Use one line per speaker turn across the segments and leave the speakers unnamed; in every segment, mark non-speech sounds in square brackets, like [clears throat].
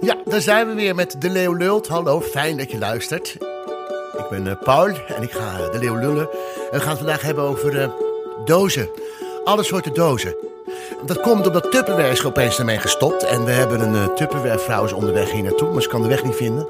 Ja, daar zijn we weer met De Leeuw Lult. Hallo, fijn dat je luistert. Ik ben eh, Paul en ik ga eh, De Leeuw lullen. En we gaan het vandaag hebben over eh, dozen. Alle soorten dozen. Dat komt omdat Tupperware is er opeens ermee gestopt. En we hebben een eh Tupperware vrouw is onderweg hier naartoe, maar ze kan de weg niet vinden.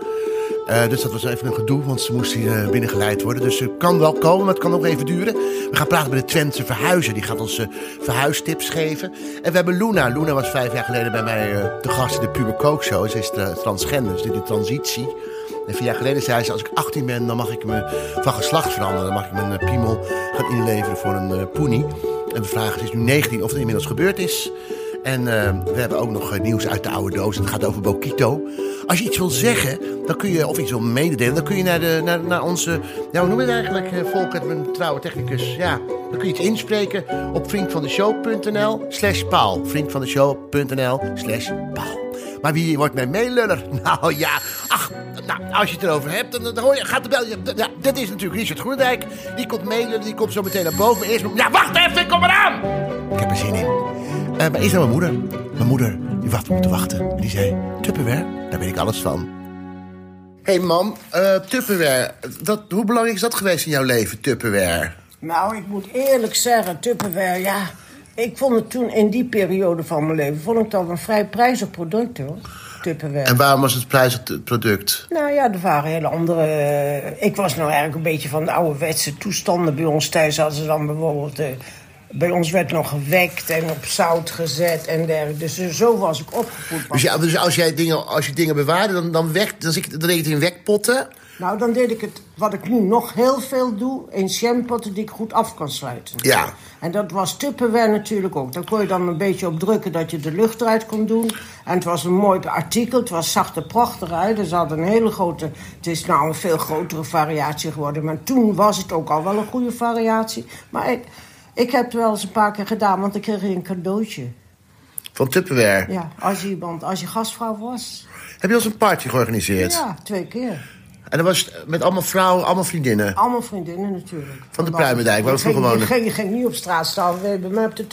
Eh, dus dat was even een gedoe, want ze moest hier eh, binnengeleid worden. Dus ze kan wel komen, maar het kan ook even duren. We gaan praten met de Twentse verhuizer. Die gaat ons eh, verhuistips geven. En we hebben Luna. Luna was vijf jaar geleden bij mij eh, te gast in de Puber Coke Show. Ze is eh, transgender, ze doet de transitie. En vier jaar geleden zei ze, als ik 18 ben, dan mag ik me van geslacht veranderen. Dan mag ik mijn eh, piemel gaan inleveren voor een eh poenie. En we vragen, ze is nu 19, of het inmiddels gebeurd is. En eh, we hebben ook nog eh, nieuws uit de oude doos. Het gaat over Bokito. Als je iets wil zeggen, dan kun je, of iets wil mededelen, dan kun je naar, de, naar, naar onze. Ja, hoe noemen we het eigenlijk? eh, Volkert, mijn trouwe technicus. Ja, dan kun je iets inspreken op vriendvandeshow.nl/slash paal. Vriendvandeshow.nl/slash paal. Maar wie wordt mijn meeluller? [laughs] Nou ja, ach, nou, als je het erover hebt, dan, dan hoor je, gaat de bel. Ja, d- ja, dit is natuurlijk Richard Groenendijk. Die komt meelullen, die komt zo meteen naar boven. Eerst, ja, wacht even, ik kom eraan! Ik heb er zin in. Eh, maar eerst naar mijn moeder. Mijn moeder, die wacht op me te wachten. En die zei, Tupperware, daar weet ik alles van. hey mam, eh, Tupperware. Dat, hoe belangrijk is dat geweest in jouw leven, Tupperware?
Nou, ik moet eerlijk zeggen, Tupperware, ja... Ik vond het toen in die periode van mijn leven... vond ik dat een vrij prijzig product, hoor. Tupperware.
En waarom was het prijs het product?
Nou ja, er waren hele andere... eh, Ik was nou eigenlijk een beetje van de ouderwetse toestanden bij ons thuis. Hadden ze dan bijvoorbeeld... eh, Bij ons werd nog gewekt en op zout gezet en dergelijke. Dus eh, zo was ik opgevoed.
Dus, ja, dus als, jij dingen, als je dingen bewaarde, dan, dan, weg, dan, zit- dan deed je het in wekpotten.
Nou, dan deed ik het, wat ik nu nog heel veel doe, in shampotten die ik goed af kan sluiten.
Ja.
En dat was Tupperware natuurlijk ook. Daar kon je dan een beetje op drukken dat je de lucht eruit kon doen. En het was een mooi artikel, het was, zag er prachtig uit. Dus hadden een hele grote, het is nou een veel grotere variatie geworden. Maar toen was het ook al wel een goede variatie. Maar ik, ik heb het wel eens een paar keer gedaan, want ik kreeg een cadeautje.
Van Tupperware.
Ja, als je, iemand, als je gastvrouw was.
Heb je als een party georganiseerd?
Ja, twee keer.
En dat was het met allemaal vrouwen, allemaal vriendinnen.
Allemaal vriendinnen natuurlijk.
Van de Pruimendijk, waar we
Ik ging-
vroeger
ik Ging, ik ging niet op straat staan, we bij mij op de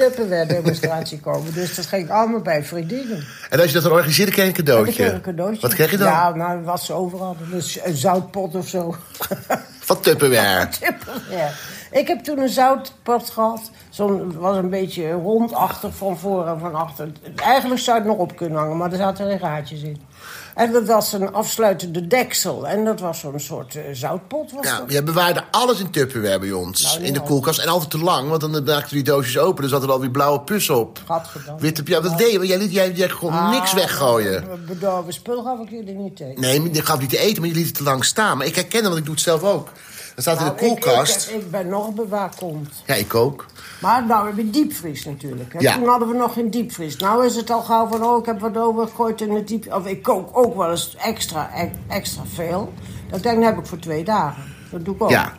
Tupperware-demonstratie komen. Dus dat ging allemaal bij vriendinnen.
En als je dat dan organiseerde, kreeg je een
En ik
cadeautje.
kreeg een cadeautje.
Wat kreeg je dan?
Ja, nou, wat ze overal hadden. Dus een zoutpot of zo. [laughs]
Van Tupperware.
Tupperware. Ik heb toen een zoutpot gehad. Zo'n was een beetje rondachtig van voor en van achter. Eigenlijk zou het nog op kunnen hangen, maar er zaten geen gaatjes in. En dat was een afsluitende deksel. En dat was zo'n soort eh, zoutpot. Was
Ja,
dat.
jij bewaarde Nou, alles in Tupperware bij ons.
Nou, niet
in de
al.
koelkast. En altijd te lang, want dan raakten die doosjes open. Dan zat er alweer blauwe pus op.
Gadverdamme.
Witte, ja, dat deed je, want jij, liet- jij, jij kon
Ah.
niks weggooien.
Bedorven spul gaf ik jullie niet tegen.
Oh, Nee, maar je gaf niet te eten, maar je liet het te lang staan. Maar ik herken hem, want ik doe het zelf ook. Dat staat in
Nou,
de
ik- ik-
koelkast.
Ik, ben nog bewaarkomd.
Ja, ik ook.
Maar nou heb je diepvries natuurlijk. hè.
Ja.
Toen hadden we nog geen diepvries. Nou is het al gauw van, oh, ik heb wat over gegooid in de diepvries. Of ik kook ook wel eens extra, e- extra veel. Dat denk ik, dat heb ik voor twee dagen. Dat doe ik ook.
Ja.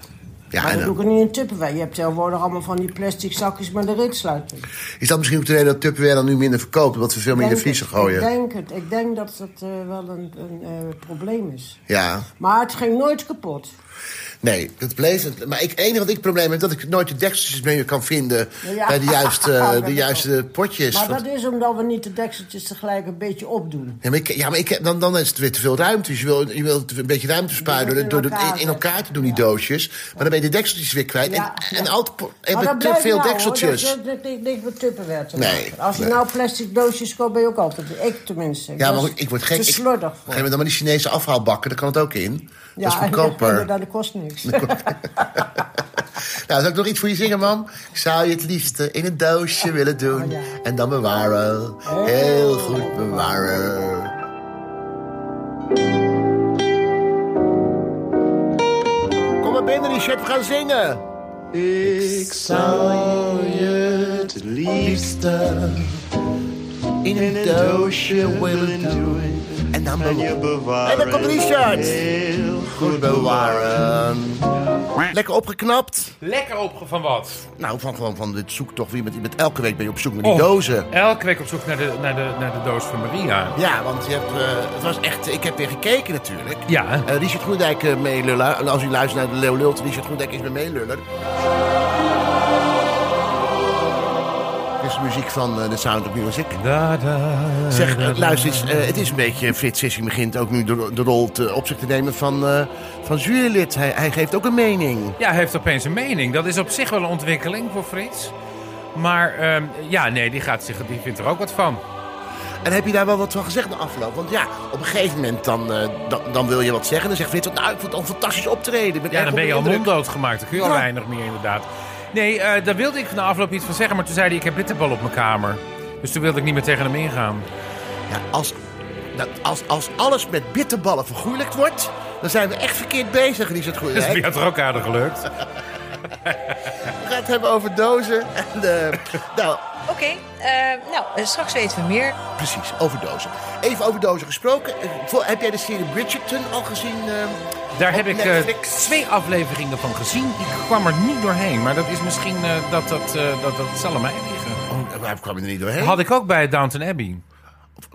Ja,
Oh. maar
en
dat doe
dan
ik er niet in Tupperware. Je hebt tegenwoordig allemaal van die plastic zakjes met een ritsluiting.
is dat misschien ook de reden dat Tupperware dan nu minder verkoopt? Omdat we veel meer in de
Denk
vriezer
het.
gooien.
Ik denk het. Ik denk dat dat eh, wel een, een eh, probleem is.
Ja.
Maar het ging nooit kapot.
Nee, dat bleef het. Maar ik, het enige wat ik probleem heb, dat ik nooit de dekseltjes meer kan vinden
Ja.
bij de juiste,
[laughs] Dat
de
is
juiste potjes.
Maar
Want-
dat is omdat we niet de dekseltjes tegelijk een beetje opdoen.
Ja, maar, ik, ja, maar ik, dan, dan is het weer te veel ruimte. Dus je wil, je wil een beetje ruimte sparen door,
moet
de- door
in
de- in,
elkaar
in elkaar te doen, die doosjes. Maar dan ben je de dekseltjes weer kwijt. En,
Ja,
en
ja.
altijd po-
Maar
hebben
dat
we te
blijft
veel
nou, hoor.
dekseltjes.
Dat- Dat ligt niks met Tupperware te
Nee,
maken. Als je
nee.
nou plastic doosjes koopt, ben je ook altijd... Ik tenminste.
ja, maar
was
goed, ik word gek.
Te
Ik,
slordig
Geef
voor.
me dan maar die Chinese afhaalbakken, daar kan het ook in. dat
[laughs]
is
en-
goedkoper.
en Dat kost niks. [laughs]
nou, zal ik nog iets voor je zingen, mam? Ik zou je het liefste in een doosje willen doen.
ja.
En dan bewaren. Heel goed bewaren. Kom maar binnen, Richard. We gaan zingen.
Ik zou je het liefste
In een doosje willen doen. En dan
en je
bewaren. En
bewaren.
dan komt Richard.
Heel
Goed bewaren. Lekker opgeknapt.
Lekker opge van wat?
Nou, van, gewoon van dit zoektocht. Wie met, met elke week ben je op zoek naar die
Oh.
dozen.
Elke week op zoek naar de, naar de, naar de doos van Maria.
Ja, want je hebt, eh, het was echt, ik heb weer gekeken natuurlijk.
Ja.
Eh, Richard Groendijk eh, meeluller. En Als u luistert naar de Leeuw Lult, Richard Groendijk is mijn meeluller. Het is muziek van eh, The Sound of Music.
Da, da,
Zeg,
da,
eh, luister eens, eh, het is een beetje... Frits Sissing begint ook nu de, de rol te, op zich te nemen van, eh van jurylid. Hij, hij geeft ook een mening.
Ja, hij heeft opeens een mening. Dat is op zich wel een ontwikkeling voor Frits. Maar ehm, ja, nee, die, gaat zich, die vindt er ook wat van.
En heb je daar wel wat van gezegd na afloop? Want ja, op een gegeven moment dan, eh, dan, dan wil je wat zeggen. Dan zegt Frits, nou, ik vond het een fantastisch optreden. Ik ben
Ja,
erg
dan
onder
ben je al
de indruk.
monddood gemaakt. Dan kun je al
Ja.
weinig meer, inderdaad. Nee, eh, daar wilde ik na afloop iets van zeggen. Maar toen zei hij, ik heb bitterbal op mijn kamer. Dus toen wilde ik niet meer tegen hem ingaan.
Ja, als, dat, als, als alles met bitterballen vergoeilijkt wordt, dan zijn we echt verkeerd bezig, Richard Goeie.
Dus
Hè?
die
We
had er ook aardig gelukt.
gaan het hebben over dozen.
[laughs]
En, eh, nou,
Oké, eh, nou, eh, straks weten we meer.
precies, over dozen. Even over dozen gesproken. Eh, voor- heb jij de serie Bridgerton al gezien? eh,
Daar
op
heb ik eh,
Netflix?
twee afleveringen van gezien. Ik kwam er niet doorheen. Maar dat is misschien eh, dat dat, eh dat, dat zal aan mij liggen.
Oh, Waar kwam je er niet doorheen?
Had ik ook bij Downton Abbey.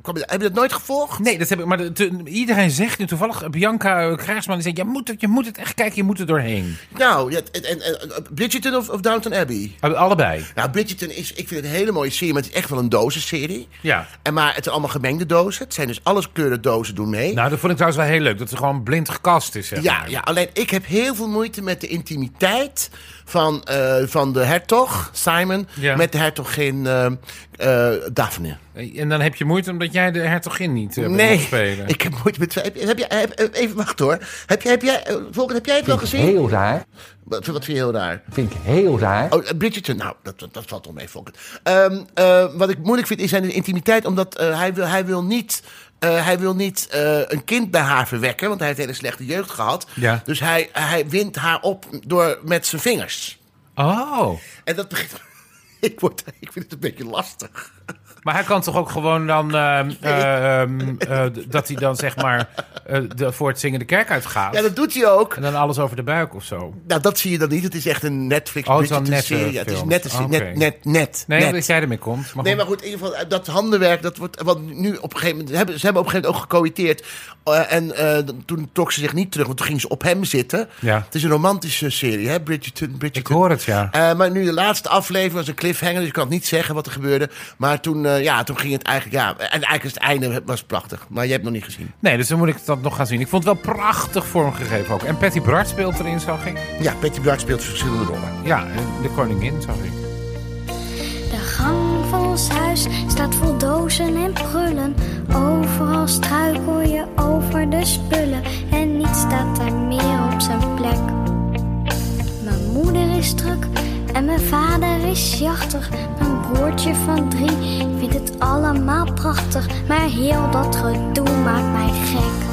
Kwam je- heb je dat nooit gevolgd?
Nee, dat heb ik. Maar de- te- iedereen zegt nu toevallig. eh, Bianca eh, Krijgsman die zegt: je moet, het, je moet het echt kijken, je moet er doorheen.
Nou, ja, en, en, en- Bridgerton of, of Downton Abbey?
Eh, Allebei.
Nou, Bridgerton is, ik vind het een hele mooie serie, maar het is echt wel een dozenserie.
Ja.
En maar het zijn allemaal gemengde dozen. Het zijn dus alles kleuren dozen doen mee.
Nou, dat vond ik trouwens wel heel leuk. Dat ze gewoon blind gekast is. Zeg
Ja,
maar.
ja, alleen ik heb heel veel moeite met de intimiteit van, eh, van de hertog, Simon,
Ja.
met de hertogin eh, eh, Daphne.
Eh, En dan heb je moeite omdat jij de hertogin niet eh,
nee,
mocht spelen.
[laughs] ik heb moeite met twee. Heb, heb jij, heb- eh, even wacht hoor. Heb, jij- heb jij, eh, Volker, heb jij het wel
vind
gezien?
ik heel raar.
Wat, wat vind je heel raar?
Vind ik heel raar.
Oh, eh, Bridgerton, nou, dat, dat, dat valt wel mee, Volker. Ehm, eh, wat ik moeilijk vind is zijn intimiteit, omdat eh, hij, wil, hij wil niet... eh, hij wil niet eh, een kind bij haar verwekken, want hij heeft hele slechte jeugd gehad.
Ja.
Dus hij, hij wint haar op door met zijn vingers.
Oh,
En dat begint. [laughs] Ik, word, ik vind het een beetje lastig.
maar hij kan toch ook gewoon dan. ehm, ehm, eh, d- dat hij dan zeg maar. eh, de, voor het zingen de kerk uitgaat.
Ja, dat doet hij ook.
En dan alles over de buik of zo.
Nou, dat zie je dan niet. Het is echt een Netflix
Oh, het is wel
Bridgerton
nette
serie. Ja, het is
films.
net, een serie.
Oké.
net, net, net,
Nee,
net.
dat jij ermee komt. Maar
Nee,
goed.
maar goed, in ieder geval, eh, dat handenwerk, dat wordt, want nu op een gegeven moment, hebben, ze hebben op een gegeven moment ook gecoïteerd. Eh, en eh, toen trok ze zich niet terug, want toen ging ze op hem zitten.
Ja.
Het is een romantische serie, hè, Bridgerton.
ik
Bridgerton.
hoor het ja.
Eh, maar nu de laatste aflevering was een cliffhanger, dus ik kan het niet zeggen wat er gebeurde. Maar toen, eh, ja, toen ging het eigenlijk, ja, en eigenlijk is het einde was prachtig. Maar je hebt het nog niet gezien.
Nee, dus dan moet ik dat nog gaan zien. Ik vond het wel prachtig vormgegeven ook. En Patty Bart speelt erin, zag ik.
Ja, Patty Bart speelt verschillende rollen.
Ja, en de koningin zag ik.
De gang van ons huis staat vol dozen en prullen. Overal struikel je over de spullen en niets staat er meer op zijn plek. Mijn moeder is druk en mijn vader is jachtig. Mijn broertje van drie vindt het allemaal prachtig, maar heel dat gedoe maakt mij gek.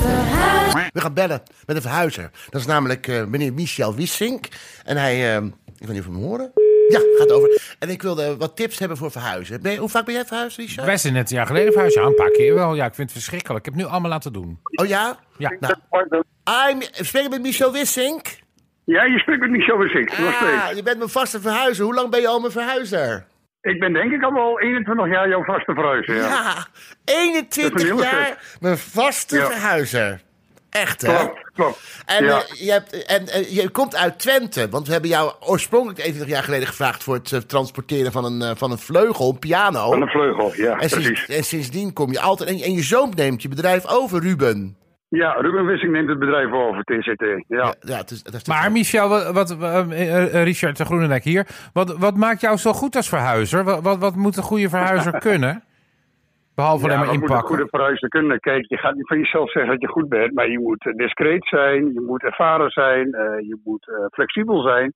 Verhuis.
We gaan bellen met een verhuizer. Dat is namelijk eh, meneer Michel Wissink. En hij, eh, ik weet niet of we hem horen. Ja, gaat over. En ik wilde wat tips hebben voor verhuizen. Ben je- hoe vaak ben jij verhuisd, Richard?
Wij zijn net een jaar geleden verhuisd. Ja, een paar keer wel. Ja, ik vind het verschrikkelijk. Ik heb het nu allemaal laten doen.
Oh ja?
Ja.
Nou,
Pardon.
I'm, spreek ik met Michel Wissink?
Oh, Ja, je spreekt met Michel Wissink, nog steeds.
Ah, je bent mijn vaste verhuizer. Hoe lang ben je al mijn verhuizer?
Ik ben denk ik al wel 21 jaar jouw vaste verhuizer, ja.
Ja,
Dat is
21
een heel
jaar mijn vaste
Ja.
verhuizer. Echt, hè?
Klopt, klopt.
En,
ja.
eh, je hebt, en eh, je komt uit Twente, want we hebben jou oorspronkelijk 21 jaar geleden gevraagd voor het eh, transporteren van een, eh, van een vleugel, een piano.
Van de vleugel, ja,
en,
precies.
sinds, en sindsdien kom je altijd. En, en je zoon neemt je bedrijf over, Ruben.
Ja, Ruben Wissink neemt het bedrijf over, TZT. Ja.
Ja, het is, dat is toch-
Maar Michel, wat, wat, eh, eh, Richard de Groenendijk hier. Wat, wat maakt jou zo goed als verhuizer? Wat, wat, wat moet een goede
[laughs]
verhuizer kunnen? Behalve
Ja,
alleen maar
wat moet een goede
inpakken.
verhuizer kunnen? Kijk, je gaat niet van jezelf zeggen dat je goed bent, maar je moet eh, discreet zijn, je moet ervaren zijn, eh, je moet eh, flexibel zijn.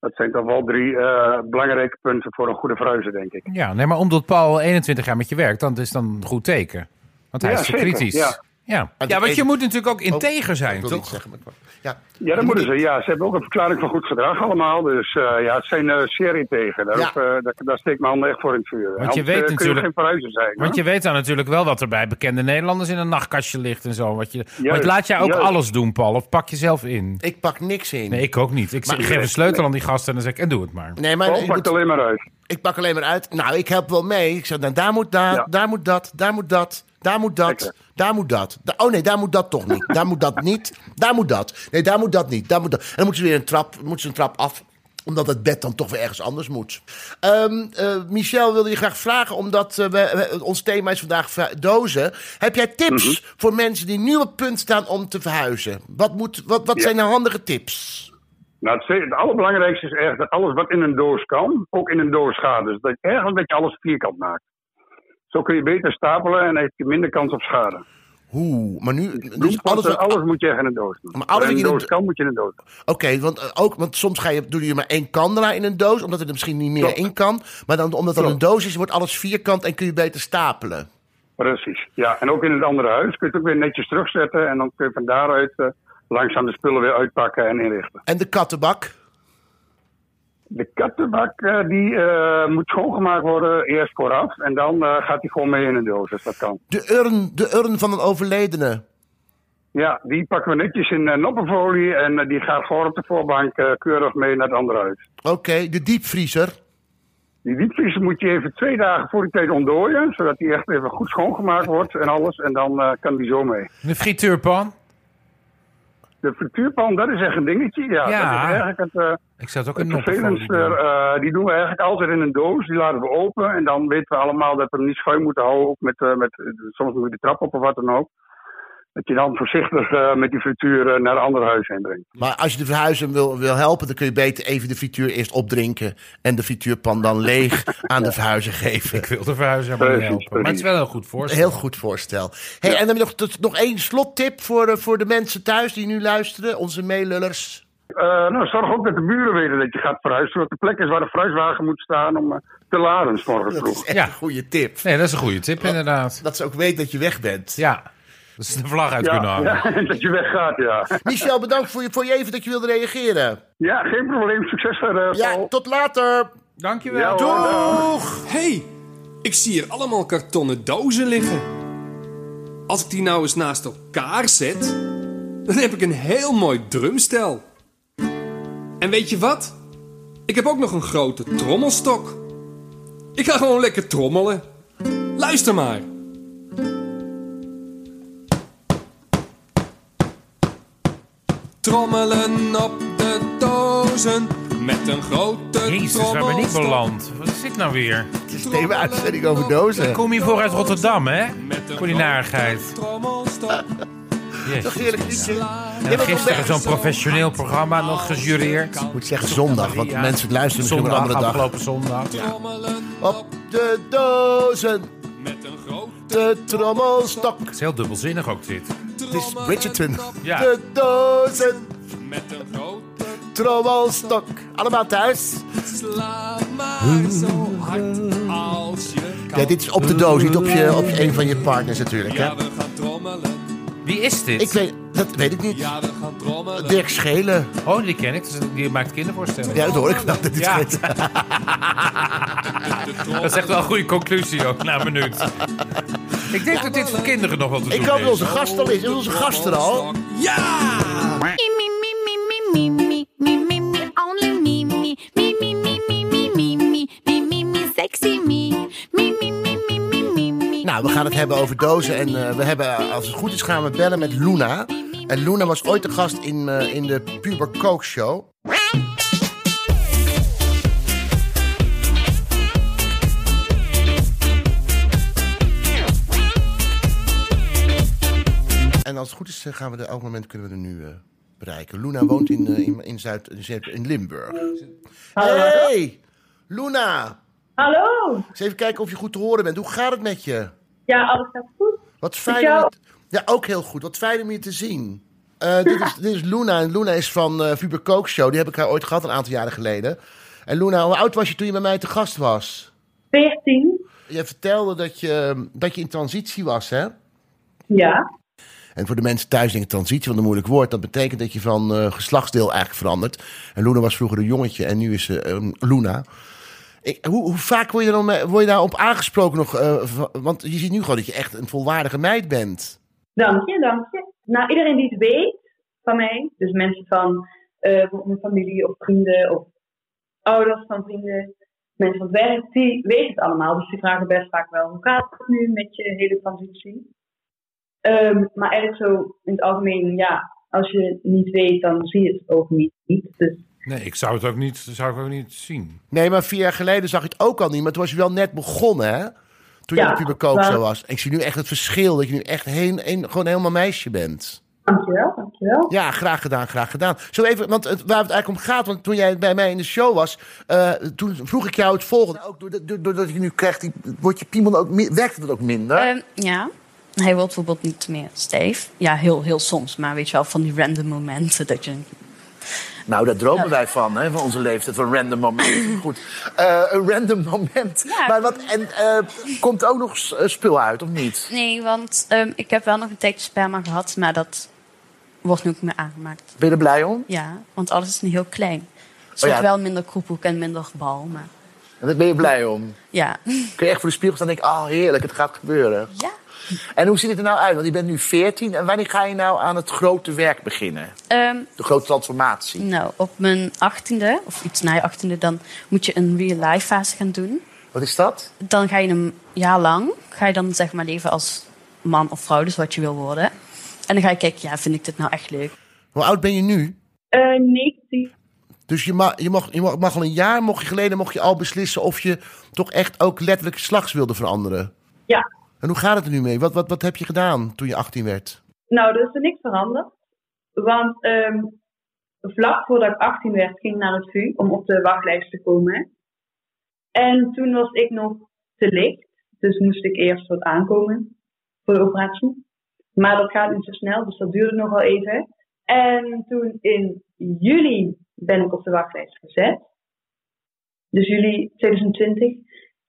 Dat zijn toch wel drie eh, belangrijke punten voor een goede verhuizer, denk ik.
Ja, nee, maar omdat Paul 21 jaar met je werkt, dan is dat een goed teken. Want hij
Ja,
is zo
zeker,
kritisch.
ja.
Ja.
Maar
ja, want je
even-
moet natuurlijk ook integer
Oh, Ik
zijn,
wil
toch?
iets zeggen, maar ik wou- ja.
Ja, dat moeten ze. Ja, ze hebben ook een verklaring van goed gedrag allemaal. Dus eh, ja, het zijn eh serie tegen. Daar,
Ja.
hoef, eh, daar, daar steek ik mijn handen echt voor in het vuur. eh,
je weet
kun
natuurlijk-
je geen verhuizer zijn.
Want
hoor.
je weet dan natuurlijk wel wat er bij bekende Nederlanders in een nachtkastje ligt en zo. Wat je, maar het
Juist,
laat jij ook
juist.
alles doen, Paul? Of pak je zelf in?
Ik pak niks in.
Nee, ik ook niet. Ik zeg-
Maar-
geef een sleutel aan die gasten en dan zeg ik, en doe het maar.
Nee, maar
Paul
ik,
pakt
moet-
Oh, alleen maar uit.
ik pak alleen maar uit. Nou, ik help wel mee. Ik zeg, nou, daar moet, daar,
Ja.
daar moet dat, daar moet dat, daar moet dat,
Lekker.
daar moet dat. Da- oh nee, daar moet dat toch niet. daar moet dat niet. Daar moet dat. Nee, daar moet dat niet. Daar moet dat. En dan moeten ze weer een trap, moeten ze een trap af. omdat het bed dan toch weer ergens anders moet. Ehm, eh, Michel wilde je graag vragen, omdat eh, we, we- ons thema is vandaag ver- dozen. Heb jij tips
Mhm.
voor mensen die nu op het punt staan om te verhuizen? Wat, moet, wat, wat
Ja.
zijn de handige tips?
Nou, het, het allerbelangrijkste is echt dat alles wat in een doos kan, ook in een doos gaat. Dus dat je eigenlijk dat je alles vierkant maakt. Zo kun je beter stapelen en heb je minder kans op schade.
Hoe? Maar nu. Dus alles
Bloempotten,
wat-
alles, moet je echt in een doos doen.
Maar alles
in
wat
een
je in
doos
een-
kan, moet je in een doos doen.
Oké, want, eh, ook- want soms ga je, doe je maar één kandelaar in een doos, omdat het er misschien niet meer
Klopt.
in kan. Maar dan, omdat het een
Klopt.
doos is, wordt alles vierkant en kun je beter stapelen.
Precies. Ja, en ook in het andere huis kun je het ook weer netjes terugzetten. En dan kun je van daaruit eh, langzaam de spullen weer uitpakken en inrichten.
En de kattenbak.
De kattenbak eh, die, eh, moet schoongemaakt worden eerst vooraf. En dan eh, gaat die gewoon mee in een doos, als dat kan.
De urn, de urn van een overledene.
Ja, die pakken we netjes in eh, noppenfolie en eh, die gaat voor op de voorbank eh, keurig mee naar het andere huis.
Oké, de diepvriezer.
Die diepvriezer moet je even twee dagen voor die tijd ontdooien, zodat die echt even goed schoongemaakt wordt en alles. En dan eh, kan die zo mee.
De frituurpan.
De frituurpan, dat is echt een dingetje. Ja,
Ja.
dat is eigenlijk het, eh,
Ik zat ook
het
in
vervelendste.
noppenfolie.
eh, die doen we eigenlijk altijd in een doos, die laten we open. En dan weten we allemaal dat we hem niet schuin moeten houden, ook met, eh, met, soms moet je de trap op of wat dan ook. Dat je dan voorzichtig eh, met die frituur eh, naar een ander huis heen brengt.
Maar als je de verhuizer wil, wil helpen, dan kun je beter even de frituur eerst opdrinken. En de frituurpan dan
[laughs]
leeg aan de verhuizer geven.
Ik wil de verhuizer helemaal niet
Precies,
helpen. Maar het is wel een goed voorstel.
Heel goed voorstel. Hey, En dan heb je nog, tot- nog één slottip voor, eh, voor de mensen thuis die nu luisteren, onze meelullers.
Eh, nou, zorg ook dat de buren weten dat je gaat verhuizen. Zodat de plek is waar de fruitwagen moet staan om eh, te laden, s morgens
Dat is
vroeg.
echt
Ja.
een goede tip.
Nee, dat is een goede tip inderdaad.
Dat ze ook weten dat je weg bent.
Ja, dat ze de vlag uit kunnen
Ja,
hangen.
ja, [laughs] dat je weggaat, ja.
Michel, bedankt voor je, voor je even dat je wilde reageren.
Ja, geen probleem. Succes verder,
Ja,
Paul.
tot later.
Dankjewel.
Ja, hoor.
Doeg!
hey, ik zie hier allemaal kartonnen dozen liggen. Als ik die nou eens naast elkaar zet, dan heb ik een heel mooi drumstel. En weet je wat? Ik heb ook nog een grote trommelstok. Ik ga gewoon lekker trommelen. Luister maar. Trommelen op de dozen met een grote
Jezus, waar ben ik
trommelstok.
beland? Wat is dit nou weer?
Het is thema uitzending over dozen.
Kom hier voor uit Rotterdam, hè?
Met een
Voor die narigheid.
trommelstok.
Toch
Jezus.
heerlijk liedje.
En gisteren zo'n
eh,
professioneel programma nog gejureerd.
Ik moet zeggen zondag, want de mensen luisteren misschien op een
Zondag,
andere dag.
afgelopen zondag.
Trommelen
Op de dozen,
met een grote
de trommelstok.
Het is heel dubbelzinnig ook dit.
Het is Bridgerton.
Ja.
De dozen,
Met een grote
trommelstok. Allemaal thuis.
sla maar zo hard als je kan.
Ja, dit is op de doos, niet op, je, op je- een van je partners natuurlijk. Hè?
Ja, we gaan trommelen.
Wie is dit?
Ik weet, dat weet ik niet.
Ja, we gaan trommelen.
Dirk Schelen.
Oh, die ken ik. Dus Die maakt kindervoorstellingen.
Ja, dat hoor ik wel. Dat dit
Ja.
weet.
De trommel-
Dat is echt wel een goede conclusie ook, na een
[laughs]
minuut. Ik denk dat dit voor kinderen nog wel te doen
Ik hoop dat
is.
onze gast al is. Is onze gast er al?
Ja!
Me, me, me, me, me, me, me, me, me, me, only me, me, me, me, me, me, me, me, me, me, me, me, sexy me, me, me, me, me, me, me, me.
Nou, we gaan het hebben over dozen. En eh, we hebben, eh, als het goed is, gaan we bellen met Luna. En Luna was ooit de gast in, eh, in de Puber Coke Show. En als het goed is, eh, gaan we er elk moment kunnen we er nu eh, bereiken. Luna woont in, eh, in, in, Zuid, in Zuid- in Limburg. Hey, Luna.
Hallo.
Eens even kijken of je goed te horen bent. Hoe gaat het met je?
Ja, alles gaat goed.
Wat fijn.
jou?
om je- Ja, ook heel goed. Wat fijn om je te zien. Eh, dit, is, dit is Luna. En Luna is van eh Fuber Coke Show. Die heb ik haar ooit gehad een aantal jaren geleden. En Luna, hoe oud was je toen je bij mij te gast was?
14.
Je vertelde dat je, dat je in transitie was, hè?
Ja.
En voor de mensen thuis denken transitie van een moeilijk woord. Dat betekent dat je van eh, geslachtsdeel eigenlijk verandert. En Luna was vroeger een jongetje en nu is ze ehm, Luna. Ik, hoe, hoe vaak word je, dan, eh, word je daarop aangesproken nog? eh, va- want je ziet nu gewoon dat je echt een volwaardige meid bent.
Dank je, dank je. Nou, iedereen die het weet van mij, dus mensen van eh, van mijn familie of vrienden of ouders van vrienden, mensen van het werk, die weten het allemaal. Dus die vragen best vaak wel, hoe gaat het nu met je hele transitie? Ehm, maar eigenlijk zo in het algemeen, ja, als je het niet weet, dan zie je het ook niet. Dus
Nee, ik zou het ook niet, zou ik ook niet zien.
Nee, maar vier jaar geleden zag je het ook al niet. Maar toen was je wel net begonnen, hè? Toen je
Ja,
op je bekoop
maar-
zo was. Ik zie nu echt het verschil. Dat je nu echt heen, een, gewoon helemaal meisje bent.
Dankjewel, dankjewel.
Ja, graag gedaan, graag gedaan. Zo even, want het, waar het eigenlijk om gaat, want toen jij bij mij in de show was, eh, toen vroeg ik jou het volgende. Ook doordat, doord- doordat je nu krijgt, die, wordt je piemel ook, mi- werkt het ook minder?
Eh,
Ehm, ja. Hij wil bijvoorbeeld niet meer steef. Ja, heel, heel soms. Maar weet je wel, van die random momenten dat je...
Nou, daar dromen wij van, hè, van onze leeftijd, van random
[clears throat]
momenten. Goed, Eh, een random moment.
Ja.
Maar wat, en eh, komt ook nog s- eh, spul uit, of niet?
Nee, want ehm, ik heb wel nog een tijdje sperma gehad, maar dat wordt nu ook meer aangemaakt.
Ben je er blij om?
Ja, want alles is nu heel klein. Dus
Oh ja.
ook wel minder kroephoek en minder bal, maar
En daar ben je blij om.
ja. [laughs]
Kun je echt voor de spiegel staan en denken, ah, heerlijk, het gaat gebeuren.
ja.
En hoe ziet het er nou uit? Want je bent nu 14. En wanneer ga je nou aan het grote werk beginnen?
Ehm,
De grote transformatie.
nou, op mijn achttiende, of iets na je achttiende, dan moet je een real-life fase gaan doen.
Wat is dat?
Dan ga je een jaar lang, ga je dan zeg maar leven als man of vrouw, dus wat je wil worden. En dan ga je kijken, ja, vind ik dit nou echt leuk?
Hoe oud ben je nu?
Eh, 19.
Dus je, ma je, mag, je mag, mag al een jaar mocht je geleden mocht je al beslissen of je toch echt ook letterlijk slags wilde veranderen.
Ja,
En hoe gaat het er nu mee? Wat, wat, wat heb je gedaan toen je 18 werd?
nou, er is er niks veranderd. Want ehm, vlak voordat ik 18 werd, ging ik naar het VU om op de wachtlijst te komen. En toen was ik nog te licht, dus moest ik eerst wat aankomen voor de operatie. Maar dat gaat niet zo snel, dus dat duurde nog wel even. En toen in juli ben ik op de wachtlijst gezet. Dus juli 2020.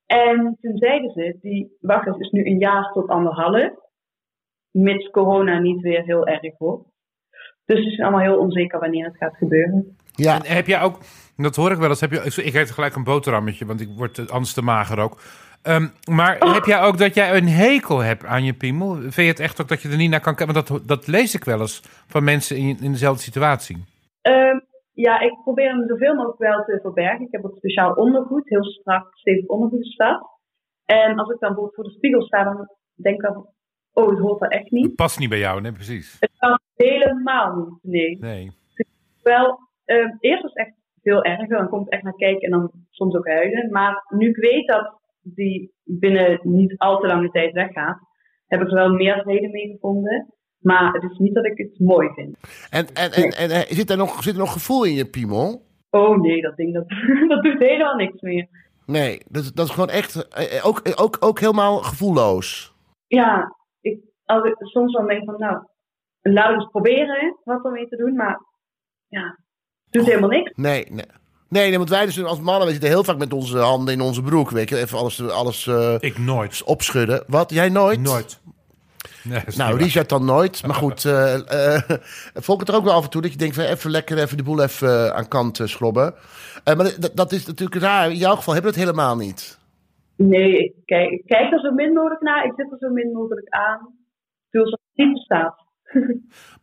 En toen zeiden ze, die wachtlijst is nu een jaar tot anderhalf mits corona niet weer heel erg wordt. Dus het is allemaal heel onzeker wanneer het gaat gebeuren.
Ja,
En heb jij ook, dat hoor ik wel eens, heb je, ik eet gelijk een boterhammetje, want ik word eh, anders te mager ook. Ehm, maar
Oh.
heb jij ook dat jij een hekel hebt aan je piemel? Vind je het echt ook dat je er niet naar kan kijken? Want dat, dat lees ik wel eens van mensen in, in dezelfde situatie.
Ehm, ja, ik probeer hem zoveel mogelijk wel te verbergen. Ik heb ook speciaal ondergoed, heel strak, stevig ondergoed staat. En als ik dan bijvoorbeeld voor de spiegel sta, dan denk ik dan, oh, het hoort er echt niet.
Het past niet bij jou, nee, precies.
Het kan helemaal niet, nee.
Nee.
Wel, ehm, eerst was het echt veel erger. Dan kon ik echt naar kijken en dan soms ook huilen. Maar nu ik weet dat die binnen niet al te lange tijd weggaat, heb ik er wel meer reden mee gevonden. Maar het is niet dat ik het mooi vind.
en, en, en, en, eh, zit, er nog, zit er nog gevoel in je piemel?
Oh nee, dat ding dat, [laughs] dat doet helemaal niks meer.
Nee, dat, dat is gewoon echt, eh, eh, ook, eh, ook, ook helemaal gevoelloos.
Ja, ik, als ik soms dan denk ik van nou, laat ik eens proberen wat ermee te doen. Maar ja, het doet helemaal niks.
Nee, nee. Nee, nee, want wij dus als mannen, we zitten heel vaak met onze handen in onze broek, weet je. Even alles, alles eh,
Ik nooit.
opschudden. Wat, jij nooit?
Nooit. Nee, dat is
Nou,
niet waar.
Richard dan nooit. Maar goed, eh eh volk het er ook wel af en toe dat je denkt van even lekker even de boel even eh, aan kant eh, schrobben. Eh, maar dat, dat is natuurlijk raar. In jouw geval hebben we het helemaal niet.
Nee, ik kijk, ik kijk er zo min mogelijk naar. Ik zit er zo min mogelijk aan. Ik doe alsof het niet bestaat.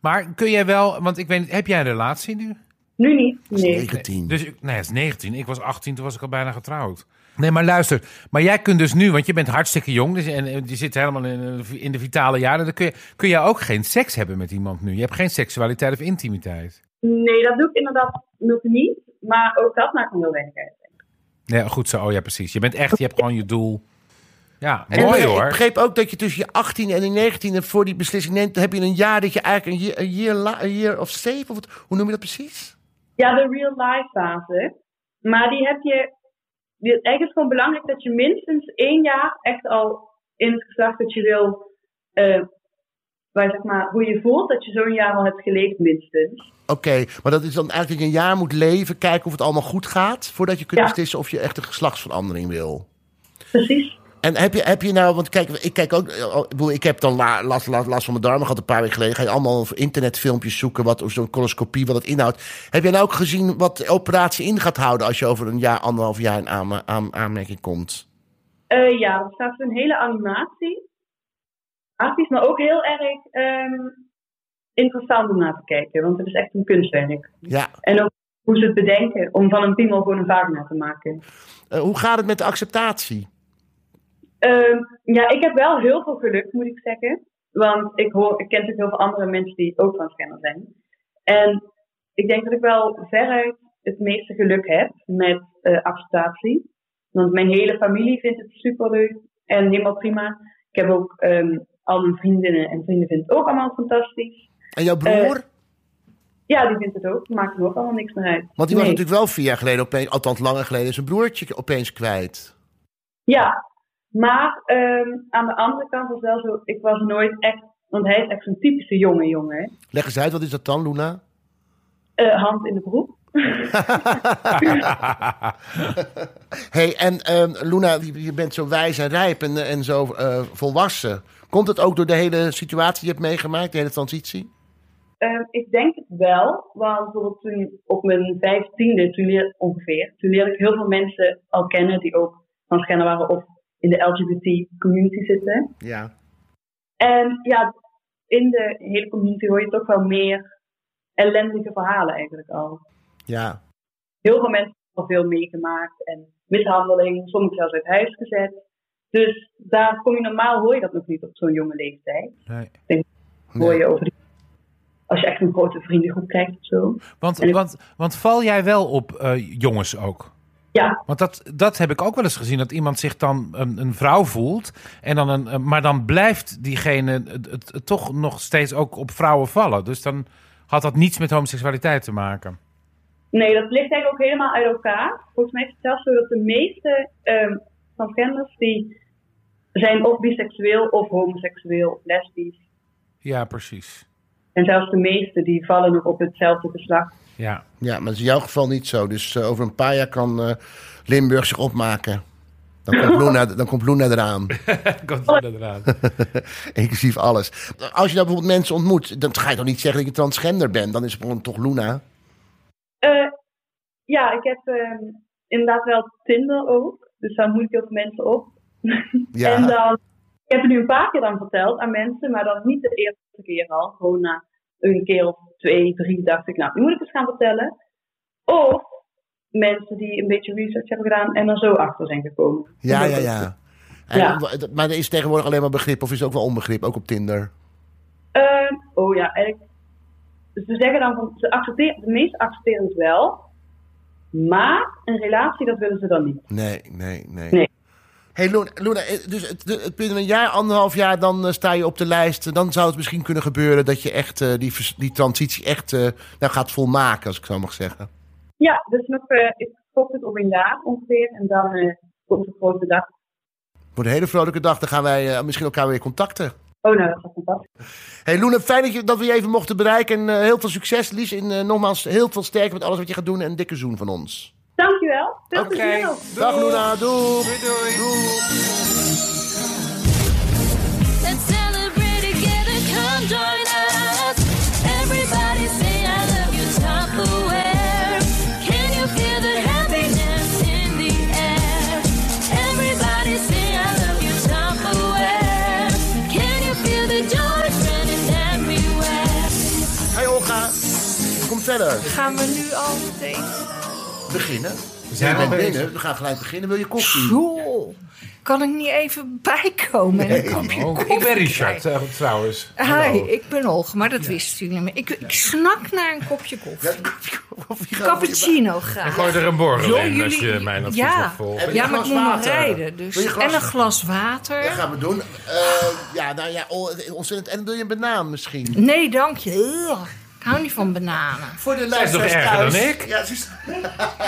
Maar kun jij wel, want ik weet niet, heb jij een relatie nu?
Nu niet, nee.
19.
Dus ik, nee, het is 19. Ik was 18, toen was ik al bijna getrouwd. Nee, maar luister. Maar jij kunt dus nu, want je bent hartstikke jong dus, en eh, je zit helemaal in, eh, in de vitale jaren. Dan kun je, kun je ook geen seks hebben met iemand nu. Je hebt geen seksualiteit of intimiteit.
Nee, dat doe ik inderdaad nog niet. Maar ook dat maakt me heel weinig uit.
Nee, goed zo. Oh ja, precies. Je bent echt, je hebt gewoon je doel. Ja,
En
mooi
ik- Ik
hoor.
begreep ook dat je tussen je 18 en je 19 voor die beslissing neemt. Dan heb je een jaar dat je eigenlijk een year, een year, la- een year of zeven, of wat- hoe noem je dat precies?
Ja, de real life fase. Maar die heb je. Die, eigenlijk is het gewoon belangrijk dat je minstens één jaar echt al in het geslacht dat je wil. eh, waar, zeg maar, hoe je voelt dat je zo'n jaar al hebt geleefd, minstens.
Oké, maar dat is dan eigenlijk dat je een jaar moet leven, kijken of het allemaal goed gaat, voordat je kunt
Ja.
beslissen of je echt een geslachtsverandering wil.
Precies.
En heb je, heb je nou, want kijk, ik kijk ook, eh, ik bedoel, ik heb dan la- last, last, last van mijn darmen gehad een paar weken geleden. Ga je allemaal op internetfilmpjes zoeken, wat of zo'n coloscopie, wat het inhoudt. Heb jij nou ook gezien wat de operatie in gaat houden als je over een jaar, anderhalf jaar in aan, aan, aanmerking komt?
Eh, ja, er staat een hele animatie. Grafisch, maar ook heel erg ehm, interessant om naar te kijken. Want het is echt een kunstwerk.
Ja.
En ook hoe ze het bedenken om van een piemel gewoon een vagina te maken.
Eh, hoe gaat het met de acceptatie?
Ehm, ja, ik heb wel heel veel geluk, moet ik zeggen. Want ik, hoor, ik ken dus natuurlijk heel veel andere mensen die ook transgender zijn. En ik denk dat ik wel veruit het meeste geluk heb met eh, acceptatie. Want mijn hele familie vindt het superleuk en helemaal prima. Ik heb ook ehm, al mijn vriendinnen en vrienden vinden het ook allemaal fantastisch.
En jouw broer?
Eh, ja, die vindt het ook. Maakt hem ook allemaal niks meer uit.
Want die was
Nee.
natuurlijk wel vier jaar geleden, opeens, althans langer geleden, zijn broertje opeens kwijt.
Ja, maar ehm, aan de andere kant was wel zo, ik was nooit echt, want hij is echt zo'n typische jonge jongen. hè.
Leg eens uit, wat is dat dan, Luna?
Eh, hand in de broek.
hey, en ehm, Luna, je je bent zo wijs en rijp en, eh, en zo eh, volwassen. Komt het ook door de hele situatie die je hebt meegemaakt, de hele transitie?
Ehm, ik denk het wel, want bijvoorbeeld toen op mijn vijftiende, toen leer, ongeveer, toen leerde ik heel veel mensen al kennen die ook transgender waren of in de LGBT community zitten.
Ja.
En ja, in de hele community hoor je toch wel meer ellendige verhalen eigenlijk al.
Ja.
Heel veel mensen hebben al veel meegemaakt en mishandeling, sommigen zelfs uit huis gezet. Dus daar kom je normaal, hoor je dat nog niet op zo'n jonge leeftijd.
Nee.
Hoor je over die, als je echt een grote vriendengroep krijgt of zo.
Want,
En ik-
want, want val jij wel op eh, jongens ook?
Ja,
Want dat, dat heb ik ook wel eens gezien. Dat iemand zich dan een, een vrouw voelt. En dan een, een- maar dan blijft diegene het, het- het toch nog steeds ook op vrouwen vallen. Dus dan had dat niets met homoseksualiteit te maken.
nee, dat ligt eigenlijk ook helemaal uit elkaar. Volgens mij is het zelfs zo dat de meeste ehm transgenders die zijn of biseksueel of homoseksueel of lesbisch.
Ja, precies.
En zelfs de meeste die vallen nog op hetzelfde geslacht.
Ja.
Ja, maar dat is in jouw geval niet zo. Dus eh, over een paar jaar kan eh, Limburg zich opmaken. Dan komt, Luna, dan komt Luna eraan.
Komt er
[laughs]
inderdaad.
[laughs] Inclusief alles. Als je nou bijvoorbeeld mensen ontmoet, dan ga je toch niet zeggen dat je transgender bent? Dan is het gewoon toch Luna?
Eh, ja, ik heb ehm, inderdaad wel Tinder ook. Dus daar moet ik heel veel mensen op.
Ja.
[laughs] En dan, ik heb het nu een paar keer dan verteld aan mensen, maar dan niet de eerste keer al. Gewoon na een keer of twee, drie dacht ik, nou, nu moet ik eens gaan vertellen. Of mensen die een beetje research hebben gedaan en er zo achter zijn gekomen.
Ja, ja, ja. En,
Ja.
Maar er is tegenwoordig alleen maar begrip, of is het ook wel onbegrip, ook op Tinder?
Ehm, oh ja, eigenlijk. Ze zeggen dan van, ze accepteren, de meesten accepteren het wel, maar een relatie, dat willen ze dan niet.
Nee, nee, nee.
Nee.
Hey Luna, Luna, eh, dus het, het- het- binnen een jaar, anderhalf jaar, dan eh, sta je op de lijst. Dan zou het misschien kunnen gebeuren dat je echt eh, die, vers- die transitie echt eh, nou, gaat volmaken, als ik zo mag zeggen.
Ja, dus nog, eh ik stop het op een jaar ongeveer en dan eh, komt de grote dag.
Voor een hele vrolijke dag, dan gaan wij eh, misschien elkaar weer contacten.
Oh, nou, dat was fantastisch.
Hey Loene, fijn dat, je, dat we je even mochten bereiken. En eh, heel veel succes, Lies. En eh, nogmaals, heel veel sterkte met alles wat je gaat doen. En een dikke zoen van ons.
Dankjewel. Veel
Oké.
plezier nog.
Dag Luna, doei.
doei.
Let's celebrate together, come join us. Everybody say I love you, Tupperware. Can you feel the happiness in the air? Everybody say I love you, Tupperware. Can you feel the joy spreading everywhere?
Hey Olga, kom verder.
Gaan we nu al meteen?
Beginnen.
We
We
zijn al
zijn
bezig.
binnen, we gaan gelijk beginnen. Wil je koffie?
Joh, kan ik niet even bijkomen? en een kopje
Oh,
koffie
ik ben Richard,
krijgen?
eh, trouwens.
Hi, ik ben Olga, maar dat wisten jullie niet meer. Ik, ik snak naar een kopje koffie.
Koffie gaan we
Cappuccino
En
graag.
gooi er een borrel
Joh,
in als
jullie-
je mijn advies
ja.
mag volgen.
Wil je
Ja,
een
maar ik
glas
moet nog
water?
rijden.
Wil
Dus.
je glas-
En een glas water.
Dat gaan we doen. Eh, ja, nou ja, oh, ontzettend. En wil je een banaan [laughs] misschien?
Nee, dank je. Ugh, Ik hou niet van bananen.
Voor de
is nog
luisteraars
erger
thuis.
dan ik?
Ja, ze is... [laughs]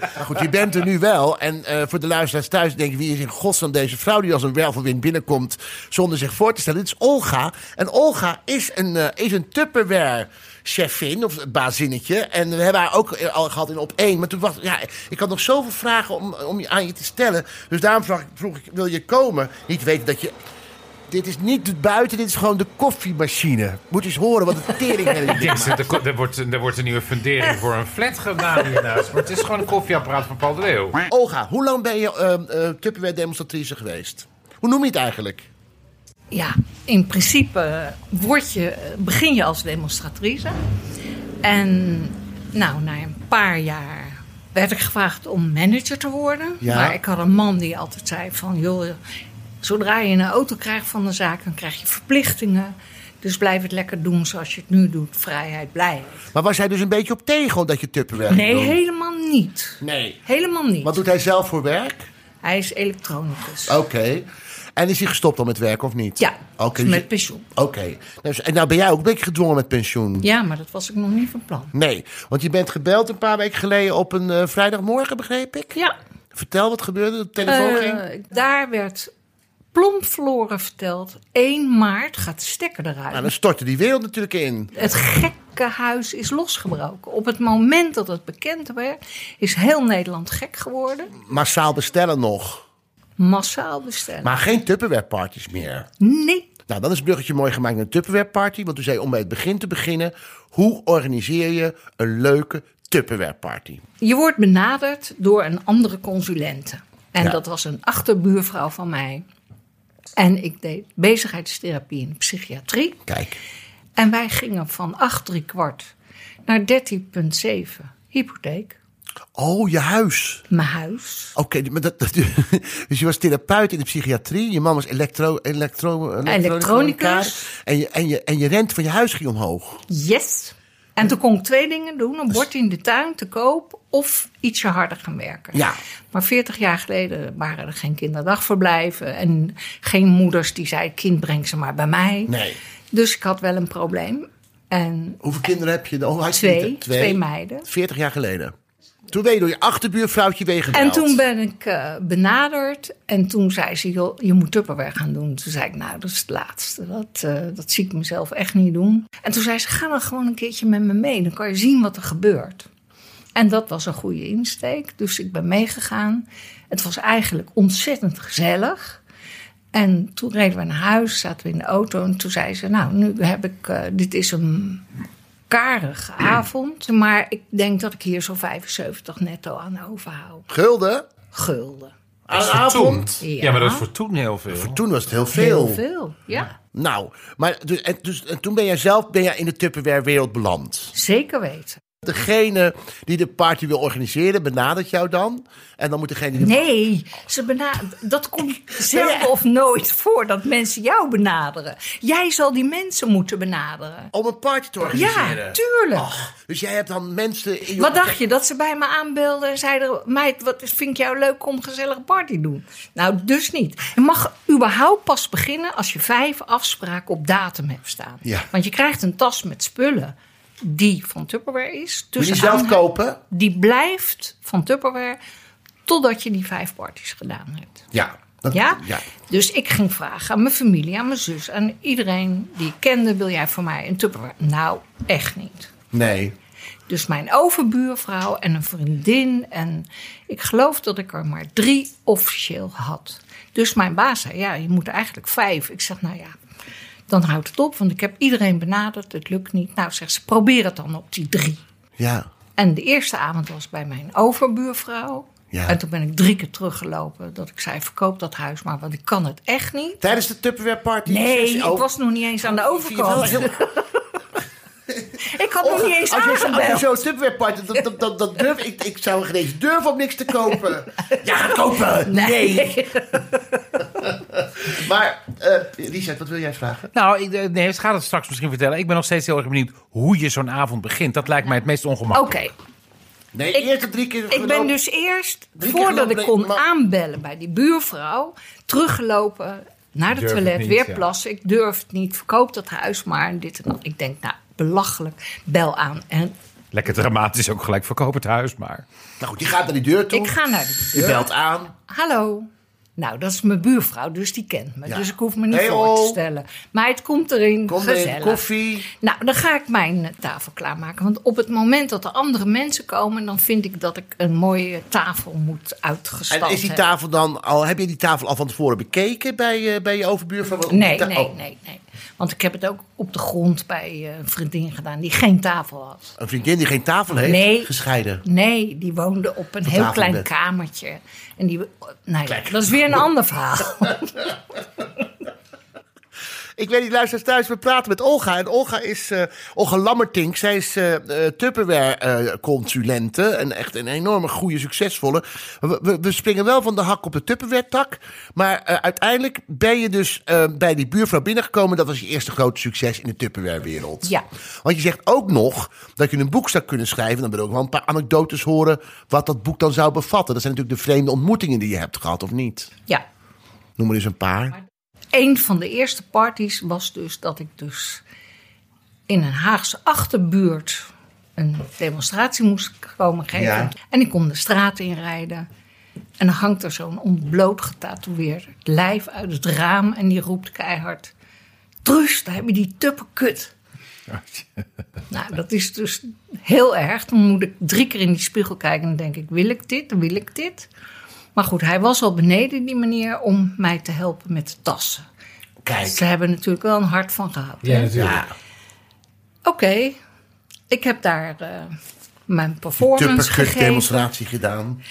maar goed, je bent er nu wel. En eh, voor de luisteraars thuis denk ik... wie is in godsnaam deze vrouw die als een wervelwind binnenkomt... zonder zich voor te stellen? Dit is Olga. En Olga is een, eh, is een Tupperware... Chefin of bazinnetje. En we hebben haar ook eh, al gehad in op één. Maar toen was ja, ik had nog zoveel vragen om, eh, om je- aan je te stellen. Dus daarom vroeg ik, vroeg ik: wil je komen? Niet weten dat je. Dit is niet het buiten, dit is gewoon de koffiemachine. Moet eens horen wat een
[laughs]
tering
Ik denk, dat er, ko- er, wordt, er wordt een nieuwe fundering voor een flat gedaan hiernaast. Maar het is gewoon een koffieapparaat van Paul de Leeuw.
Olga, hoe lang ben je eh eh, Tupperware-demonstratrice geweest? Hoe noem je het eigenlijk?
Ja, in principe eh, word je, begin je als demonstratrice. En nou, na een paar jaar werd ik gevraagd om manager te worden.
Ja.
Maar ik had een man die altijd zei van... joh, Zodra je een auto krijgt van de zaak, dan krijg je verplichtingen. Dus blijf het lekker doen zoals je het nu doet. Vrijheid, blij.
Maar was hij dus een beetje op tegen dat je Tupperware
Nee,
ging doen?
helemaal niet.
Nee.
Helemaal niet.
Wat doet hij zelf voor werk?
Hij is elektronicus.
Oké. En is hij gestopt al met werk of niet?
Ja,
Oké.
dus met pensioen.
Oké. Dus- en nou ben jij ook een beetje gedwongen met pensioen.
Ja, maar dat was ik nog niet van plan.
Nee, want je bent gebeld een paar weken geleden op een eh, vrijdagmorgen, begreep ik?
Ja.
Vertel, wat gebeurde? De telefoon
Eh,
ging?
Daar werd plomp verloren verteld. 1 maart gaat de stekker eruit.
Nou, dan stortte die wereld natuurlijk in.
Het gekkenhuis is losgebroken. Op het moment dat het bekend werd, is heel Nederland gek geworden.
Massaal bestellen nog.
Massaal bestellen.
Maar geen Tupperware parties meer.
Nee.
Nou, dan is het bruggetje mooi gemaakt naar de Tupperware party. Want toen zei je, om bij het begin te beginnen... hoe organiseer je een leuke Tupperware party?
Je wordt benaderd door een andere consulente. En
Ja.
dat was een achterbuurvrouw van mij. En ik deed bezigheidstherapie in de psychiatrie.
Kijk.
En wij gingen van 8 drie kwart naar 13,7 hypotheek.
Oh, je huis.
Mijn huis.
Oké, maar dat, [laughs] dat- dus je was therapeut in de psychiatrie. Je man was elektro, elektro,
Elektronicus.
En je, en, je, en je rent van je huis ging omhoog.
Yes. En toen kon ik twee dingen doen:
Dus-
een bord in de tuin te koop of ietsje harder gaan werken.
Ja.
Maar 40 jaar geleden waren er geen kinderdagverblijven en geen moeders die zeiden: kind, breng ze maar bij mij.
Nee.
Dus ik had wel een probleem. En
Hoeveel kinderen heb je? dan? Oh, had je
twee,
niet, hè?
twee meiden.
40 jaar geleden. Toen ben je door je achterbuurvrouwtje weggebeld.
En toen ben ik eh, benaderd en toen zei ze, joh, je moet Tupperware gaan doen. Toen zei ik, nou, dat is het laatste. Dat, eh, dat zie ik mezelf echt niet doen. En toen zei ze, ga dan gewoon een keertje met me mee. Dan kan je zien wat er gebeurt. En dat was een goede insteek. Dus ik ben meegegaan. Het was eigenlijk ontzettend gezellig. En toen reden we naar huis, zaten we in de auto. En toen zei ze, nou, nu heb ik, eh, dit is een karige avond. Maar ik denk dat ik hier zo'n 75 netto aan overhoud.
Gulden?
Gulden.
Aan
voor
avond?
toen. Ja. Ja, maar dat is voor
toen heel veel.
Voor toen was het heel veel.
Heel veel, ja.
Nou, maar dus, en, dus, en toen ben jij zelf ben jij in de Tupperware wereld beland.
Zeker weten.
Degene die de party wil organiseren, benadert jou dan. En dan moet degene die... de-
Nee, ze bena- dat komt zelden of nooit voor dat mensen jou benaderen. Jij zal die mensen moeten benaderen.
Om een party te organiseren.
Ja, tuurlijk.
Dus jij hebt dan mensen in je...
Wat dacht je? Dat ze bij me aanbelden en zeiden... meid, wat is- vind ik jou leuk om een gezellige party doen? Nou, dus niet. Je mag überhaupt pas beginnen als je vijf afspraken op datum hebt staan.
Ja.
Want je krijgt een tas met spullen die van Tupperware is.
Moet je
tussen
die zelf
aanhang-
kopen?
Die blijft van Tupperware totdat je die vijf parties gedaan hebt.
Ja. Dat-
Ja?
ja.
Dus ik ging vragen aan mijn familie, aan mijn zus... aan iedereen die ik kende, wil jij voor mij een Tupperware? Nou, echt niet.
Nee.
Dus mijn overbuurvrouw en een vriendin. En ik geloof dat ik er maar drie officieel had. Dus mijn baas zei, ja, je moet er eigenlijk vijf. Ik zeg, nou ja, dan houdt het op, want ik heb iedereen benaderd. Het lukt niet. Nou, zegt ze, probeer het dan op die drie.
Ja.
En de eerste avond was bij mijn overbuurvrouw.
Ja.
En toen ben ik drie keer teruggelopen. Dat ik zei, verkoop dat huis maar, want ik kan het echt niet.
Tijdens de Tupperware party...
Nee,
Oh,
ik was nog niet eens aan de
vind je wel
overkant.
heel-
Ik had nog niet eens
als je zo- Als je
aangebeld.
zo'n Tupperware party... Dat, dat, dat, dat durf, ik, ik zou geen eens durven om niks te
[laughs]
kopen. Ja, ga het kopen! nee. Maar, eh Richard, wat wil jij vragen?
Nou, ik, eh, nee, ze gaat het straks misschien vertellen. Ik ben nog steeds heel erg benieuwd hoe je zo'n avond begint. Dat lijkt mij het meest
Oké,
ongemakkelijk.
Nee,
Ik-
eerst de drie keer
Ik ben
gelopen.
dus eerst,
Drie keer
voordat
gelopen,
ik kon
nee, maar-
aanbellen bij die buurvrouw, teruggelopen naar de
Durf het
toilet,
niet,
weer
ja.
plassen. Ik durf het niet, verkoop dat huis maar en dit en dat. Ik denk, nou, belachelijk, bel aan. En
Lekker dramatisch ook gelijk. Verkoop het huis maar.
Nou goed, je gaat naar die deur toe.
ik ga naar de
Je belt aan.
Hallo. Nou, dat is mijn buurvrouw, dus die kent me.
Ja.
Dus ik hoef me niet
Hey, oh.
voor te
ho.
stellen. Maar het komt erin,
Kom
gezellig.
in, koffie.
Nou, dan ga ik mijn eh, tafel klaarmaken. Want op het moment dat er andere mensen komen... dan vind ik dat ik een mooie tafel moet uitgestald
En is die
hebben.
tafel dan al, heb je die tafel al van tevoren bekeken bij, eh, bij je overbuurvrouw? Want-
Nee,
ta-
nee,
oh,
nee, nee. Want ik heb het ook op de grond bij eh, een vriendin gedaan die geen tafel had.
Een vriendin die geen tafel heeft,
Nee.
gescheiden.
Nee, die woonde op een heel klein
tafelbed.
kamertje.
[laughs]
En die, nou ja, dat is weer een ander verhaal.
Ik weet niet, luister thuis. We praten met Olga. En Olga is eh, Olga Lammertink. Zij is eh Tupperware-consulente. en echt een enorme goede, succesvolle. We, we- we springen wel van de hak op de Tupperware-tak. Maar eh, uiteindelijk ben je dus eh, bij die buurvrouw binnengekomen. Dat was je eerste grote succes in de Tupperware-wereld.
Ja.
Want je zegt ook nog dat je een boek zou kunnen schrijven. Dan wil ik ook wel een paar anekdotes horen wat dat boek dan zou bevatten. Dat zijn natuurlijk de vreemde ontmoetingen die je hebt gehad, of niet?
Ja.
Noem er eens een paar.
Een van de eerste parties was dus dat ik dus in een Haagse achterbuurt een demonstratie moest komen geven.
Ja.
En ik kon de straat inrijden. En dan hangt er zo'n ontbloot getatoeëerd lijf uit het raam en die roept keihard... Truus, daar heb je die tupperkut. Nou, dat is dus heel erg. Dan moet ik drie keer in die spiegel kijken en dan denk ik, wil ik dit, wil ik dit? Maar goed, hij was al beneden die meneer om mij te helpen met de tassen.
Kijk.
Ze hebben natuurlijk wel een hart van gehad. hè? Oké, ik heb daar eh, mijn performance gegeven.
Tupperkut-demonstratie gedaan.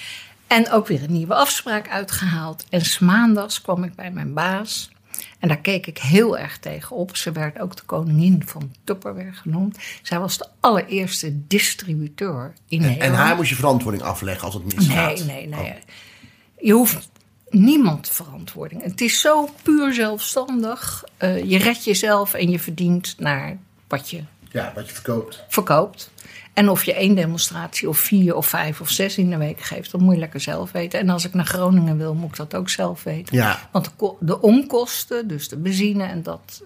En ook weer een nieuwe afspraak uitgehaald. En 's maandags kwam ik bij mijn baas. En daar keek ik heel erg tegen op. Ze werd ook de koningin van Tupperware genoemd. Zij was de allereerste distributeur in
En, en
Nederland.
haar moest je verantwoording afleggen als het misgaat.
Nee, nee, nee.
Oh.
Je hoeft niemand verantwoording. Het is zo puur zelfstandig. Eh, je redt jezelf en je verdient naar wat je
Ja, wat je verkoopt.
verkoopt. En of je één demonstratie of vier of vijf of zes in de week geeft, dat moet je lekker zelf weten. En als ik naar Groningen wil, moet ik dat ook zelf weten.
Ja.
Want de, ko- de onkosten, dus de benzine en dat,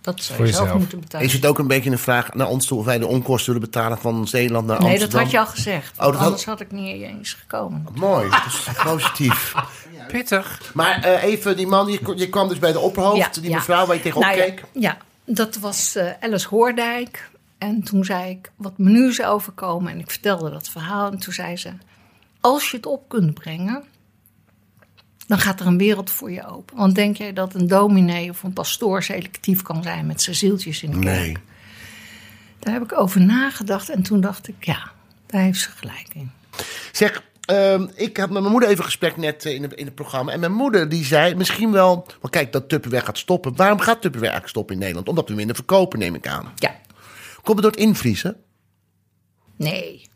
dat zou je zelf moeten betalen.
Is het ook een beetje een vraag naar ons toe of wij de onkosten willen betalen van Zeeland naar
nee,
Amsterdam?
dat had je al gezegd.
Oh, dat
want
had-
anders had... ik niet eens gekomen.
Mooi, dat is [laughs] positief.
Pittig.
Maar eh, even, die man, die, die kwam dus bij de opperhoofd,
Ja,
die
ja.
mevrouw waar je tegenop
Nou ja,
keek.
Ja, dat was eh, Alice Hoordijk. En toen zei ik wat me nu is overkomen. En ik vertelde dat verhaal. En toen zei ze: Als je het op kunt brengen, dan gaat er een wereld voor je open. Want denk jij dat een dominee of een pastoor selectief kan zijn met zijn zieltjes in de kerk?
Nee.
Daar heb ik over nagedacht. En toen dacht ik: Ja, daar heeft ze gelijk in.
Zeg, ehm, ik had met mijn moeder even een gesprek net eh, in, het- in het programma. En mijn moeder die zei misschien wel... Want kijk, dat Tupperware gaat stoppen. Waarom gaat Tupperware eigenlijk stoppen in Nederland? Omdat we minder verkopen, neem ik aan.
Ja.
Komt het door het invriezen?
Nee.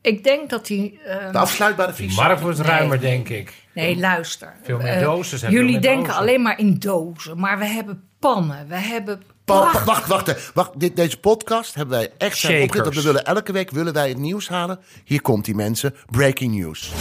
Ik denk dat die. eh,
De afsluitbare
De
vriezen?
markt wordt ruimer, denk ik.
Nee, luister.
Veel meer
Eh,
dozen zijn
jullie
veel meer
denken
dozen.
alleen maar in dozen, maar we hebben pannen, we hebben
Pa- pa-
prachtig-
wacht, wacht, wacht. Dit, deze podcast hebben wij echt zijn
Shakers.
opgezet. want We willen elke week willen wij het nieuws halen. Hier komt die mensen. Breaking news.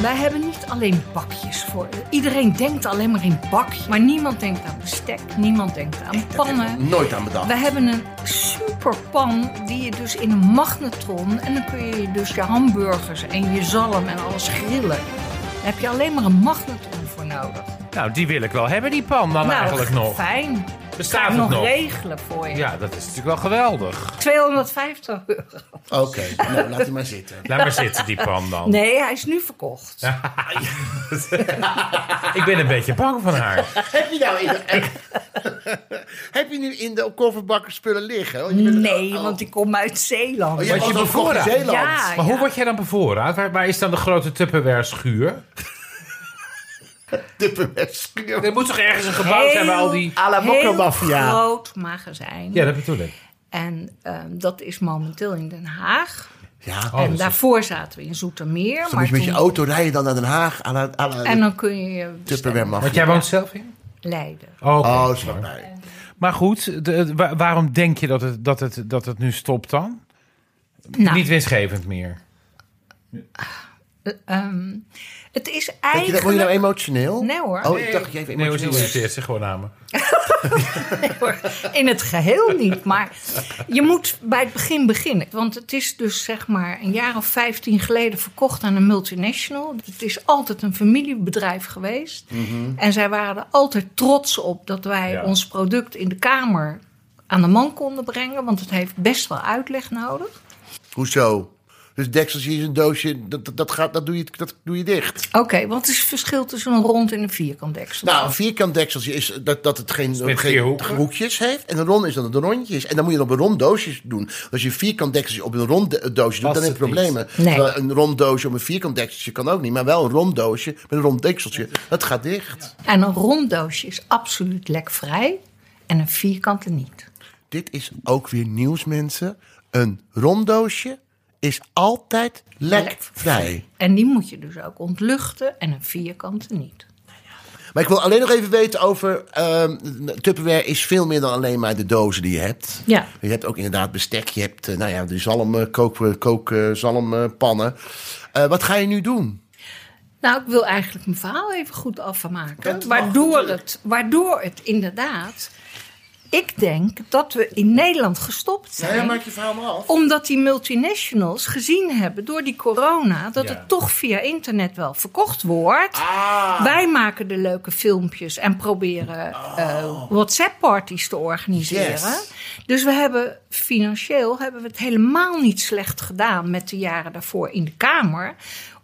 Wij hebben niet alleen bakjes voor. Iedereen denkt alleen maar in bakjes, maar niemand denkt aan bestek, niemand denkt aan pannen.
Nooit aan bedacht.
We hebben een superpan die je dus in een magnetron en dan kun je dus je hamburgers en je zalm en alles grillen. Daar heb je alleen maar een magnetron voor nodig. Nou,
Nou, die wil ik wel hebben, die pan dan eigenlijk nog.
Fijn.
Bestaat
Ga ik
het nog?
regelen voor je.
Ja, dat is natuurlijk wel geweldig.
250 euro.
Oké, nou laat die maar
[laughs]
zitten.
Laat maar zitten, die pan dan.
Nee, hij is nu verkocht.
Ik ben een beetje bang van haar.
Heb je nou in de, heb je nu in de kofferbakken spullen liggen? Want je bent-
Nee,
oh.
want ik kom uit Zeeland.
Oh, je was
je
al vroeg in
bevoorraad?
Zeeland.
ja,
Maar hoe
ja.
word jij dan bevoorraad? Waar, waar is dan de grote Tupperware schuur?
Tupperware.
Er moet toch ergens een gebouw zijn waar al die...
à la
Heel
Mokka-maffia.
groot magazijn.
Ja, dat bedoel ik.
En ehm, dat is momenteel in Den Haag.
Ja,
Oh, dat
en
is-
daarvoor zaten we in Zoetermeer.
Dus dan moet je met je
toen-
auto rijden dan naar Den Haag. à la- à la
En dan kun je je
Tupperware
bestellen.
maffia.
Want jij woont zelf in?
Leiden.
Oh, oké.
Oh, snap mij.
Maar goed, de- de- wa- waarom denk je dat het, dat, het, dat het nu stopt dan?
Nou,
Niet winstgevend meer.
ehm, het is
Denk je dat- Word je
eigenlijk...
nou emotioneel?
Nee, hoor.
Oh, ik dacht dat je
Nee,
even
ze
emotioneel was.
interesseert zich gewoon aan me.
In het geheel niet, maar je moet bij het begin beginnen. Want het is dus zeg maar een jaar of 15 geleden verkocht aan een multinational. Het is altijd een familiebedrijf geweest. En zij waren er altijd trots op dat wij
Ja.
ons product in de kamer aan de man konden brengen. Want het heeft best wel uitleg nodig.
Hoezo? Dus dekseltje is een doosje, dat, dat, dat gaat, dat, doe je, dat doe je dicht.
Oké, wat is het verschil tussen een rond en een vierkant deksel?
Nou, een vierkant dekseltje is dat, dat het geen,
met
geen
vier hoeken.
hoekjes heeft. En een rond is dat het een rondje is. En dan moet je het op een rond doosje doen. Als je een vierkant dekseltje op een rond de- eh, doosje doet,
Past
dan heb je
het niet.
problemen.
Nee.
Terwijl Een rond doosje op een vierkant dekseltje kan ook niet. Maar wel een rond doosje met een rond dekseltje, dat gaat dicht.
En een rond doosje is absoluut lekvrij en een vierkante niet.
Dit is ook weer nieuws, mensen. Een rond doosje is altijd lekvrij.
En die moet je dus ook ontluchten en een vierkante niet.
Maar ik wil alleen nog even weten over... ehm Tupperware is veel meer dan alleen maar de dozen die je hebt.
Ja.
Je hebt ook inderdaad bestek. Je hebt, eh, nou ja, de zalm, eh, kook, eh, kook, eh, zalm, eh, pannen. Eh, wat ga je nu doen?
Nou, ik wil eigenlijk mijn verhaal even goed afmaken.
Dat mag
waardoor, het, waardoor het inderdaad. Ik denk dat we in Nederland gestopt zijn.
je verhaal maar af.
Omdat die multinationals gezien hebben door die corona dat het toch via internet wel verkocht wordt. Wij maken de leuke filmpjes en proberen eh, WhatsApp-parties te organiseren.
Yes.
Dus we hebben financieel hebben we het helemaal niet slecht gedaan met de jaren daarvoor in de Kamer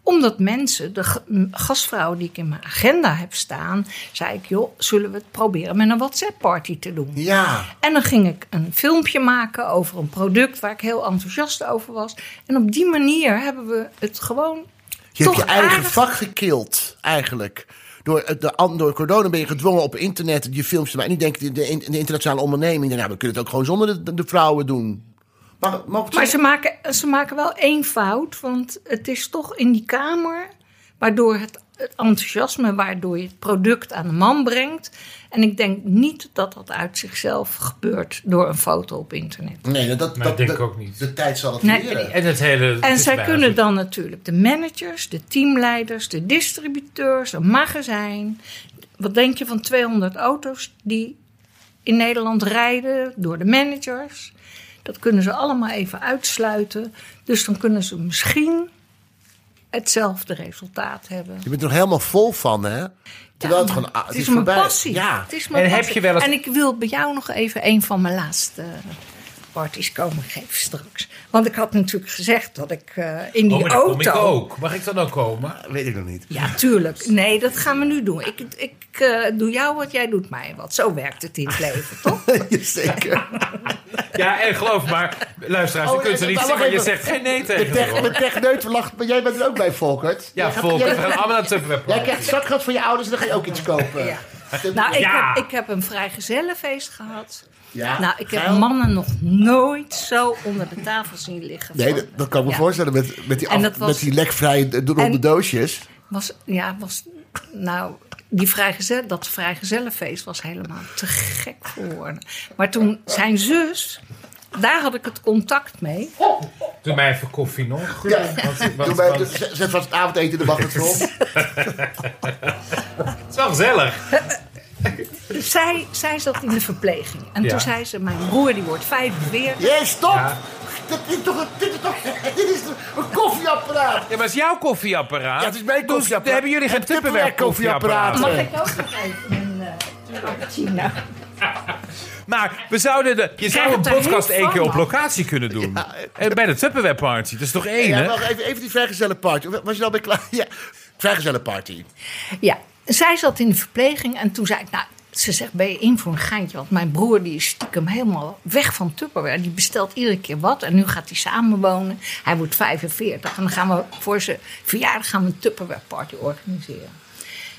omdat mensen, de g- m, gastvrouw die ik in mijn agenda heb staan, zei ik: joh, zullen we het proberen met een WhatsApp-party te doen?
Ja.
En dan ging ik een filmpje maken over een product waar ik heel enthousiast over was. En op die manier hebben we het gewoon.
Je
toch
hebt je eigen
aardig-
vak gekild, eigenlijk. Door, het- de, an- door corona ben je gedwongen op internet je films te maken. En nu denkt de, de, in- de internationale onderneming... Nou, we kunnen het ook gewoon zonder de, de vrouwen doen. Maar,
Maar ze maken, ze maken wel één fout, want het is toch in die kamer waardoor het, het enthousiasme, waardoor je het product aan de man brengt. En ik denk niet dat dat uit zichzelf gebeurt door een foto op internet.
Nee, dat, dat,
Maar ik
dat-
denk
dat-
ook niet.
De tijd zal het
Nee.
leren.
En het hele... het
En
is
zij
bijna
kunnen
zo-
dan natuurlijk de managers, de teamleiders, de distributeurs, een magazijn. Wat denk je van 200 auto's die in Nederland rijden door de managers? Dat kunnen ze allemaal even uitsluiten. Dus dan kunnen ze misschien hetzelfde resultaat hebben.
Je bent er nog helemaal vol van, hè? Terwijl het
Ja,
gewoon... ah,
het
het
is,
voorbij. [laughs]
mijn passie.
Ja.
Het is mijn
En heb
passie.
je wel eens-
En ik wil bij jou nog even een van mijn laatste eh, parties komen geven straks. Want ik had natuurlijk gezegd dat ik eh, in die
Oh, maar dan
auto...
kom ik ook. Mag ik dan ook komen?
Weet ik nog niet.
Ja, tuurlijk. Nee, dat gaan we nu doen. Ik, ik eh, doe jou wat, jij doet mij wat. Zo werkt het in het
[laughs]
leven, toch?
Zeker.
[laughs]
Ja, en geloof maar, luisteraars, je
Oh,
kunt ze
en-
niet
maar
zeggen,
wacht
maar je zegt
even.
geen nee
De
tegen ze,
tech-
hoor.
de techneut lacht, maar jij bent er ook bij, Volkert.
Ja,
Jij gaat-
volk, we
jij-
gaan allemaal naar Tupperware
Jij
Party.
krijgt zakgeld van je ouders en dan ga je ook iets kopen.
Ja. Nou, ik,
Ja.
heb, ik heb een vrijgezellenfeest gehad.
Ja,
Nou, ik heb
geil.
mannen nog nooit zo onder de tafel zien liggen.
Nee,
van-
dat, dat kan ik me
Ja.
voorstellen met, met, die,
En
af-
dat was-
met die lekvrije eh, ronde
En-
doosjes.
Was, ja, was, nou, die vrijgezel, dat vrijgezellenfeest was helemaal te gek geworden. Maar toen zijn zus, daar had ik het contact mee.
Doe mij even koffie nog.
Ja.
Want- want-
Doe mij, dus-
want-
zet zet vast het avondeten in de
[laughs]
magnetron.
Het is wel gezellig.
Dus zij, zij zat in de verpleging. En
Ja.
toen zei ze, mijn broer die wordt 45.
Yes, stop!
Ja.
Dit is toch een, dit is toch, dit is toch een koffieapparaat?
Ja, maar het is jouw koffieapparaat.
Ja, het is mijn
Dus
koffieapparaat.
dan hebben jullie geen
Het Tupperware
Tupperware koffieapparaat.
koffieapparaat.
Mag ik ook nog even een eh, cappuccino?
Maar we zouden de, je zou een
het er
podcast
heel
één keer
van,
op
man.
locatie kunnen doen. En Bij de Tupperware Party. Dat is toch één,
Ja,
hè?
wacht, even, even die vrijgezellenparty. Was je al bij klaar? [laughs] Ja, vrijgezellenparty.
Ja, zij zat in de verpleging en toen zei ik, nou, ze zegt, ben je in voor een geintje? Want mijn broer die is stiekem helemaal weg van Tupperware. Die bestelt iedere keer wat en nu gaat hij samenwonen. Hij wordt 45 en dan gaan we voor zijn verjaardag gaan we een Tupperware party organiseren.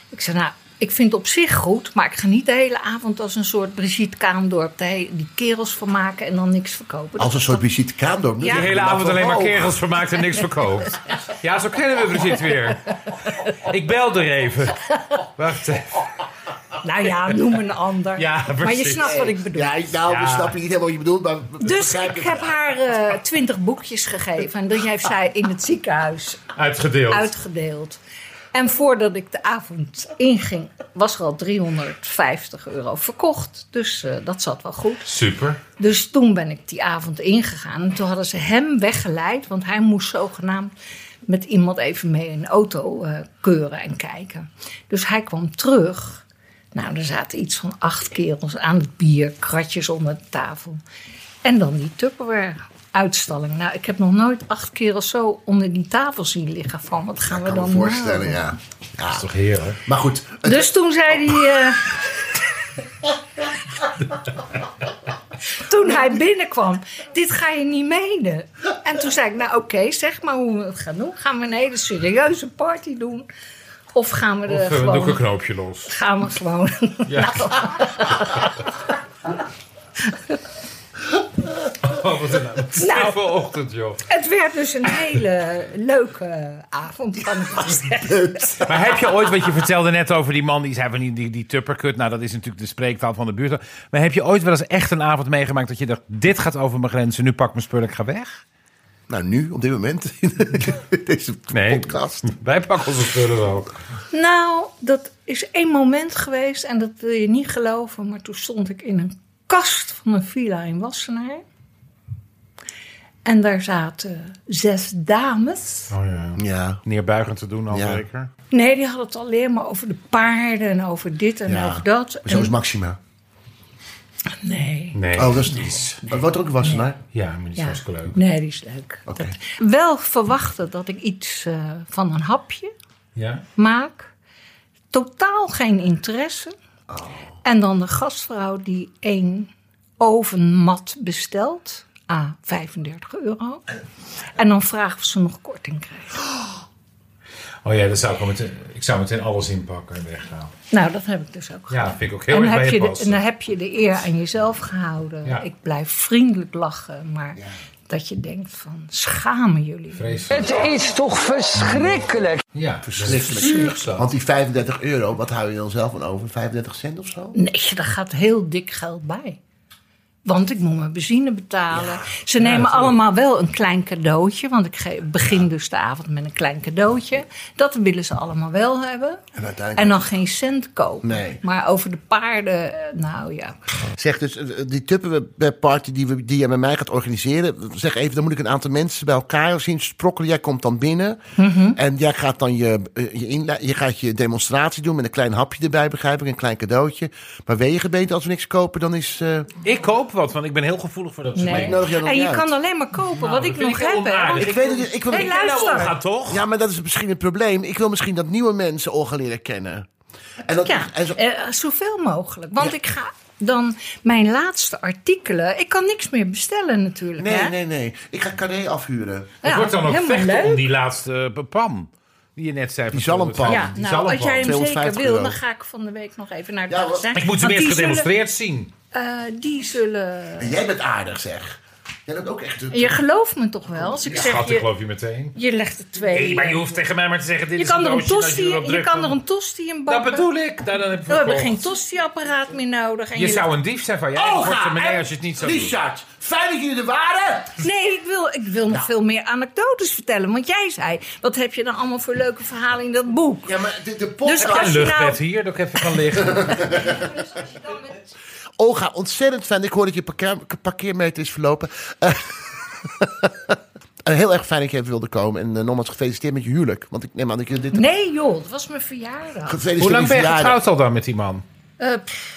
Ik zei, nou, ik vind het op zich goed, maar ik ga niet de hele avond als een soort Brigitte Kaandorp de he- die kerels van maken en dan niks verkopen.
Als een
Dat-
soort Brigitte Kaandorp.
Ja.
De hele avond alleen maar kerels vermaakt en niks verkoopt. [laughs] Ja, zo kennen we Brigitte weer. Ik bel er even. Wacht even.
Nou ja, noem een ander.
Ja,
maar je
precies.
snapt wat ik bedoel.
Ja, nou,
Ja.
we snappen niet helemaal wat je bedoelt, maar... we- we
Dus
begrijpen
ik
het.
heb haar eh, twintig boekjes gegeven. En die heeft zij in het ziekenhuis
Uitgedeeld.
uitgedeeld. En voordat ik de avond inging, was er al 350 euro verkocht. Dus eh, dat zat wel goed.
Super.
Dus toen ben ik die avond ingegaan. En toen hadden ze hem weggeleid, want hij moest zogenaamd met iemand even mee een auto eh, keuren en kijken. Dus hij kwam terug. Nou, er zaten iets van acht kerels aan het bier, kratjes onder de tafel. En dan die Tupperware. uitstalling. Nou, ik heb nog nooit acht kerels zo onder die tafel zien liggen. Van wat gaan we
kan
dan
me voorstellen,
maken?
ja. Dat is toch heerlijk. Maar goed, het-
Dus toen zei hij. eh, toen hij binnenkwam: Dit ga je niet menen. En toen zei ik: Nou, oké, zeg maar hoe we het gaan doen. Gaan we een hele serieuze party doen? Of gaan we er
Of eh, doe ik
gewoon.
een knoopje los.
Gaan we gewoon.
Ja.
Nou,
[laughs] Oh, wat een
Nou.
toffe ochtend, joh.
het werd dus een hele leuke avond, kan ik wel zeggen.
Maar heb je ooit, wat je vertelde net over die man die zei van die, die, die tupperkut. Nou, dat is natuurlijk de spreektaal van de buurt. Maar heb je ooit wel eens echt een avond meegemaakt dat je dacht, dit gaat over mijn grenzen, nu pak ik mijn spullen, ik ga weg?
Nou, nu, op dit moment. [laughs] Deze podcast.
Wij pakken onze spullen wel.
Nou, dat is één moment geweest en dat wil je niet geloven, maar toen stond ik in een kast van een villa in Wassenaar. En daar zaten zes dames.
Oh ja.
Ja.
Neerbuigend te doen al zeker.
Nee, die hadden het alleen maar over de paarden en over dit en
Ja.
over Nou, dat.
Zo is
En-
Maxima.
Nee.
Nee.
Oh, dat is niets. Dat wordt ook wassenaar.
Ja, maar die
Ja. Nee, die is leuk.
Oké.
Wel verwachten dat ik iets eh, van een hapje
Ja.
maak. Totaal geen interesse.
Oh.
En dan de gastvrouw die één ovenmat bestelt. A, 35 euro. En dan vragen of ze nog korting krijgen.
Oh ja, dat zou ik, wel meteen, ik zou meteen alles inpakken en weggaan.
Nou, dat heb ik dus ook gedaan.
Ja, vind ik ook heel
en
erg
dan
bij
heb
je
de-
passen.
En dan heb je de eer aan jezelf gehouden.
Ja.
Ik blijf vriendelijk lachen, maar dat je denkt van schamen jullie.
Vreselijk.
Het is toch verschrikkelijk.
Ja,
Verschrikkelijk. Want die 35 euro, wat hou je dan zelf van over? 35 cent of zo?
Nee, daar gaat heel dik geld bij. Want ik moet mijn benzine betalen. Ze
Ja,
nemen
natuurlijk.
allemaal wel een klein cadeautje. Want ik ge- begin dus de avond met een klein cadeautje. Dat willen ze allemaal wel hebben.
En uiteindelijk...
En dan geen cent kopen.
Nee.
Maar over de paarden, eh, nou ja.
Zeg dus, eh, die tupperparty die, we- die jij met mij gaat organiseren... Zeg even, dan moet ik een aantal mensen bij elkaar zien sprokkelen. Jij komt dan binnen
Mhm.
en jij gaat dan je, eh, je, inla- je, gaat je demonstratie doen... met een klein hapje erbij, begrijp ik, een klein cadeautje. Maar wegenbeet, als we niks kopen, dan is... eh,
Ik koop wat, want ik ben heel gevoelig voor dat soort
Nee.
ik nodig jou dan
En je
niet uit. Nou,
kan alleen maar kopen wat ik
vind
nog
ik heel
heb. hè.
onaardig.
Ik weet het niet, ik wil
Hey, luister.
toch?
Ja, maar dat is misschien het probleem. Ik wil misschien dat nieuwe mensen al gaan leren kennen. En dat,
Ja,
en zo-
eh, zoveel mogelijk. Want ik ga dan mijn laatste artikelen... Ik kan niks meer bestellen natuurlijk.
nee,
hè?
nee, nee. Ik ga Carré afhuren.
Het
Ja,
wordt dan ook
helemaal
vechten
leuk.
om die laatste eh, pan. Die je net zei. van
Die zalmpam.
250.
Ja,
Oh, Die
nou, als
zalmpam.
jij hem zeker
250
wil,
euro.
dan ga ik van de week nog even naar het
Ja,
magazijn.
Ik moet hem
Want
eerst
die zullen-
gedemonstreerd zien.
eh, die zullen...
En jij bent aardig, zeg. Jij bent ook echt... een-
Je gelooft me toch wel? Als ik
Ja,
zeg,
schat,
je,
ik geloof je meteen.
je legt er twee...
Nee, maar je hoeft tegen mij maar te zeggen... Dit
Je
is
kan, er een
doosje, als
tosti,
er wat
je,
druk
kan er
van-
een tosti in
Dat
bakken.
bedoel ik. Daar, dan heb ik
We Oh, hebben
verkocht.
geen tostiapparaat meer nodig. En
Je
je
zou een dief zijn van jij.
Olga
wordt
en
als je het niet zou doen.
Richard, fijn dat jullie er waren.
legt- Nee, ik wil, ik wil nog veel meer anekdotes vertellen. Want jij zei, wat heb je dan allemaal voor leuke verhalen in dat boek?
Ja, maar de, de
Dus
podcast-
als
Een
je nou...
luchtbed hier, dat ik even kan [laughs] liggen.
Olga, ontzettend fijn. Ik hoor dat je parkeer- parkeermeter is verlopen. Eh, [laughs] heel erg fijn dat je even wilde komen. En eh, nogmaals gefeliciteerd met je huwelijk. Want ik neem aan dat je dit...
Nee joh, dat was mijn verjaardag.
Gefeliciteerd
Hoe lang
met
ben je
verjaardag.
getrouwd al dan met die man?
Eh, pff,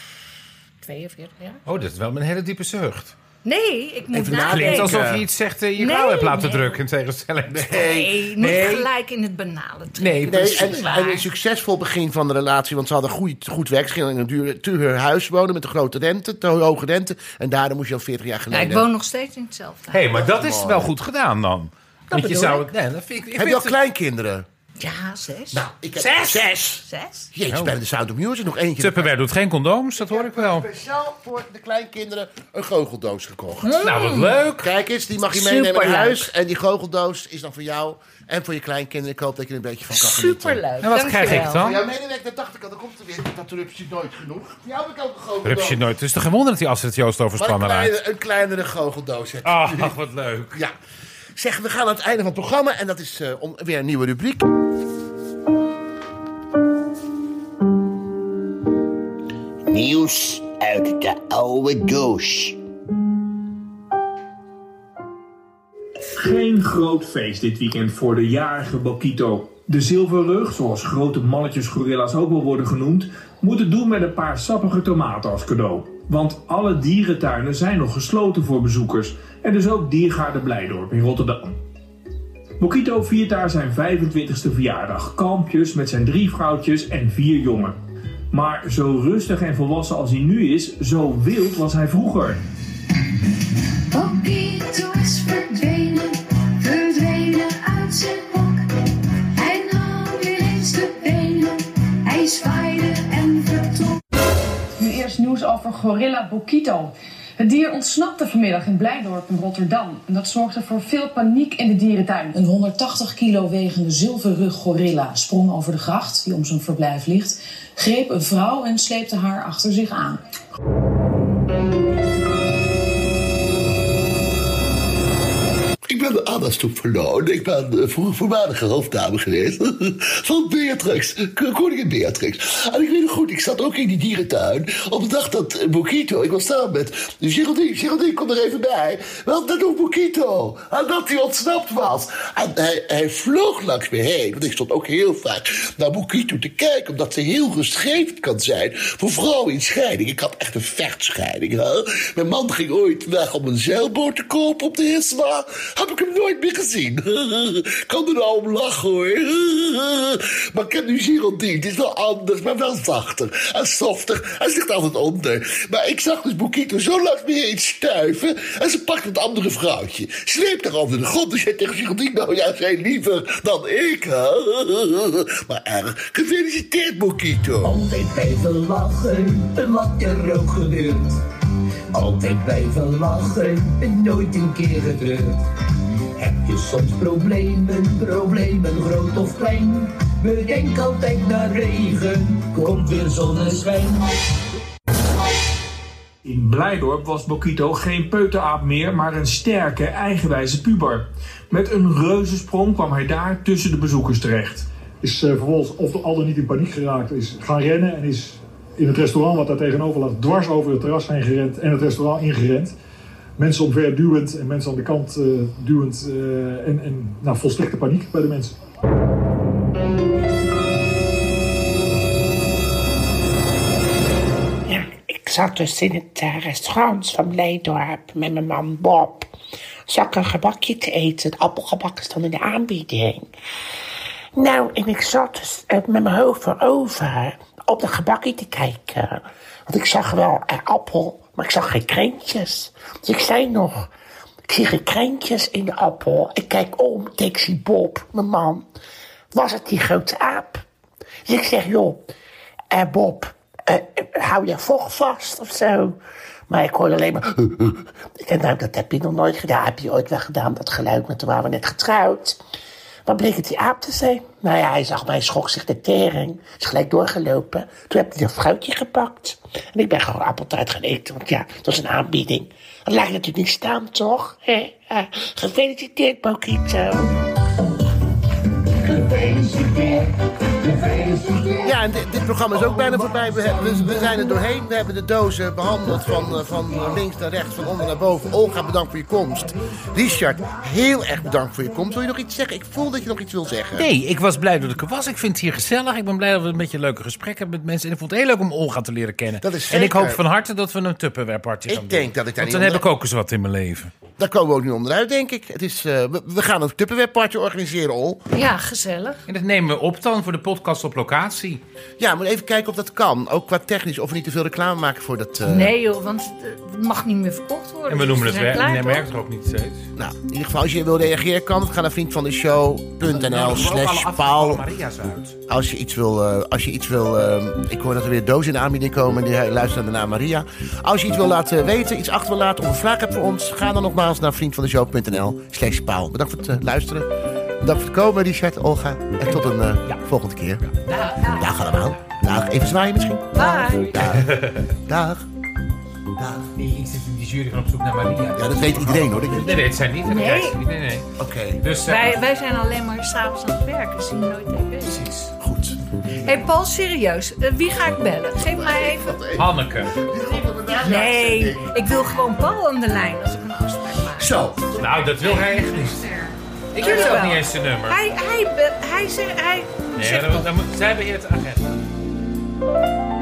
42 jaar?
Oh, dat is wel een hele diepe zucht.
Nee, ik moet
Even
nadenken.
Klinkt alsof je
eh,
iets zegt eh, je
nee,
klauw hebt laten
nee.
drukken. In tegenstelling.
Nee, niet gelijk in het banale trekken.
Nee,
Dat
Nee,
is
en,
waar.
en een succesvol begin van de relatie, want ze hadden goed, goed werk. Ze gingen in een duur, duur huis wonen met een grote rente, te hoge rente. En daardoor moest je al 40 jaar
Ja,
geleden.
ik woon nog steeds in hetzelfde
Hé,
huis.
hey, maar dat is wel goed gedaan dan. Want je
bedoel
zou... Nee, dat vind ik... ik
Heb je al
vind het-
kleinkinderen?
Ja, zes.
Nou, ik heb
Zes?
Zes.
Zes?
Jeetje, bij de Sound of Music nog eentje.
Tupperware doet geen condooms, dat hoor ik wel.
Speciaal voor de kleinkinderen een goocheldoos gekocht.
Nou, wat leuk.
Kijk eens, die mag je meenemen naar
Superleuk.
huis. En die goocheldoos is dan voor jou en voor je kleinkinderen. Ik hoop dat je er een beetje van kan genieten.
Superleuk.
En Nou, wat krijg ik
dankjewel.
Voor
dan?
jouw medewerker, dat dacht ik al, dan komt er weer. Dat rupsje is nooit genoeg. Die heb ik ook een goocheldoos.
Rupsje nooit. Het is toch geen wonder dat die Astrid Joost
Maar een
overspannen raakt.
kleinere, een kleinere goocheldoos
Ah.
heb
Ach, wat leuk.
Ja. Zeg, we gaan aan het einde van het programma en dat is eh, om, weer een nieuwe rubriek.
Nieuws uit de oude doos.
Geen groot feest dit weekend voor de jarige Bokito. De zilverrug, zoals grote mannetjes gorilla's ook wel worden genoemd, moet het doen met een paar sappige tomaten als cadeau. Want alle dierentuinen zijn nog gesloten voor bezoekers en dus ook Diergaarde Blijdorp in Rotterdam. Mokito viert daar zijn 25e verjaardag, kampjes met zijn drie vrouwtjes en vier jongen. Maar zo rustig en volwassen als hij nu is, zo wild was hij vroeger.
Mokito is verdwenen, verdwenen uit zijn hok. Hij nam weer eens de benen, hij zwaaide en vertrok.
Nu eerst nieuws over gorilla Bokito. Het dier ontsnapte vanmiddag in Blijdorp in Rotterdam. En dat zorgde voor veel paniek in de dierentuin.
Een 180 kilo wegende zilverrug gorilla sprong over de gracht die om zijn verblijf ligt, greep een vrouw en sleepte haar achter zich aan.
Ik ben de aandachtstoep verloren. Ik ben eh, vroeger voormalige hoofddame geweest [laughs] van Beatrix, k- koningin Beatrix. En ik weet nog goed, ik zat ook in die dierentuin op de dag dat eh, Bokito, ik was samen met Geraldine, Geraldine kom er even bij. Wel, dat doet Bokito. En dat hij ontsnapt was. En hij, hij vloog langs me heen, want ik stond ook heel vaak naar Bokito te kijken, omdat ze heel geschreven kan zijn voor vrouwen in scheiding. Ik had echt een vechtscheiding. Hè? Mijn man ging ooit weg om een zeilboot te kopen op de Hisma. Heb ik hem nooit meer gezien. [laughs] kan er nou om lachen hoor. [laughs] maar ik heb nu Giraldine. Het is wel anders, maar wel zachter en softer. Hij ligt altijd onder. Maar ik zag dus Boekito zo langs me heen stuiven. En ze pakt het andere vrouwtje. Sleept haar over de grond en zei tegen Giraldine... Nou ja, zij liever dan ik. hè? [laughs] maar erg. Gefeliciteerd, Boekito.
Altijd blijven lachen, wat er ook gebeurt. Altijd blijven lachen, nooit een keer gedrukt. Heb je soms problemen, problemen groot of klein? Bedenk altijd naar regen, komt weer zonneschijn.
In Blijdorp was Bokito geen peuteraap meer, maar een sterke, eigenwijze puber. Met een reuzensprong kwam hij daar tussen de bezoekers terecht.
Is eh, vervolgens of al dan niet in paniek geraakt, is gaan rennen en is in het restaurant wat daar tegenover lag dwars over het terras heen gerend en het restaurant ingerend. Mensen omver duwend en mensen aan de kant eh, duwend eh, en, en nou, volstrekte paniek bij de mensen.
Ik zat dus in het eh, restaurant van Blijdorp met mijn man Bob. Zat ik een gebakje te eten. Het appelgebak is dan in de aanbieding. Nou, en ik zat dus eh, met mijn hoofd voorover op dat gebakje te kijken. Want ik zag wel een appel, maar ik zag geen krentjes. Dus ik zei nog, ik zie geen krentjes in de appel. Ik kijk om, en ik zie Bob, mijn man. Was het die grote aap? Dus ik zeg, joh, eh, Bob, eh, eh, hou je vocht vast of zo? Maar ik hoorde alleen maar... Ik denk, nou, dat heb je nog nooit gedaan. Heb je ooit wel gedaan, dat geluid, maar toen waren we net getrouwd. Wat bleek het die aap te zijn? Nou ja, hij zag mij, schrok zich de tering. Is gelijk doorgelopen. Toen heb hij dat fruitje gepakt. En ik ben gewoon appeltaart gaan eten, want ja, dat was een aanbieding. Dat laat je natuurlijk niet staan, toch? Hè? Eh, gefeliciteerd, Bokito.
Ja, en dit, dit programma is ook bijna voorbij. We, hebben- we- we zijn er doorheen. We hebben de dozen behandeld van, eh, van links naar rechts, van onder naar boven. Olga, bedankt voor je komst. Richard, heel erg bedankt voor je komst. Wil je nog iets zeggen? Ik voel dat je nog iets wil zeggen.
Nee, ik was blij dat ik er was. Ik vind het hier gezellig. Ik ben blij dat we een beetje leuke gesprekken hebben met mensen. En ik vond het heel leuk om Olga te leren kennen.
Dat is
En ik
zeker.
hoop van harte dat we een Tupperware party gaan
Ik
doen.
denk dat ik daar
Want
niet
dan heb ik
onder-
ook eens wat in mijn leven.
Daar komen we ook niet onderuit, denk ik. Het is, eh, we, we gaan een Tupperware-party organiseren, Ol.
Ja, gezellig.
En dat nemen we op dan voor de podcast op locatie.
Ja, maar even kijken of dat kan. Ook qua technisch, of we niet te veel reclame maken voor dat... eh,
Nee joh, want het mag niet meer verkocht worden.
En we noemen het
Dus zijn
werk.
klaar,
Nee,
toch?
merkt er ook niet steeds.
Nou, in ieder geval, als je wil reageren, kan het. Ga naar vriendvandeshow.nl slash paal.
Maria's uit.
Als je iets wil, eh, als je iets wil eh, ik hoor dat er weer dozen in de aanbieding komen. Die luisteren naar Maria. Als je iets wil laten weten, iets achter wil laten of een vraag hebt voor ons, ga dan nogmaals naar vriendvandeshow.nl slash paal. Bedankt voor het eh, luisteren. Bedankt voor het komen, Richard, Olga. En tot een eh, volgende keer. Dag allemaal. Dag. Even zwaaien misschien.
Bye.
Dag. Dag.
Nee, ik zit in die jury van op zoek naar Maria.
Ja, dat weet iedereen hoor.
Nee, nee, het zijn niet.
Nee.
Nee. Nee, nee.
Oké.
Dus, eh,
Wij, wij zijn alleen maar s'avonds aan het werken, zien nooit tv. Precies.
Goed.
Hé hey Paul, serieus, eh, wie ga ik bellen? Geef mij even...
Hanneke.
Nee, ik wil gewoon Paul aan de lijn.
Zo.
Nou, dat wil hij echt niet. Ik heb
Tuurlijk
zelf
wel.
niet eens zijn nummer.
Hij, hij, be- hij, zegt, hij
Nee,
zegt
dan, dan moet, zij beheert de agenda.
Thank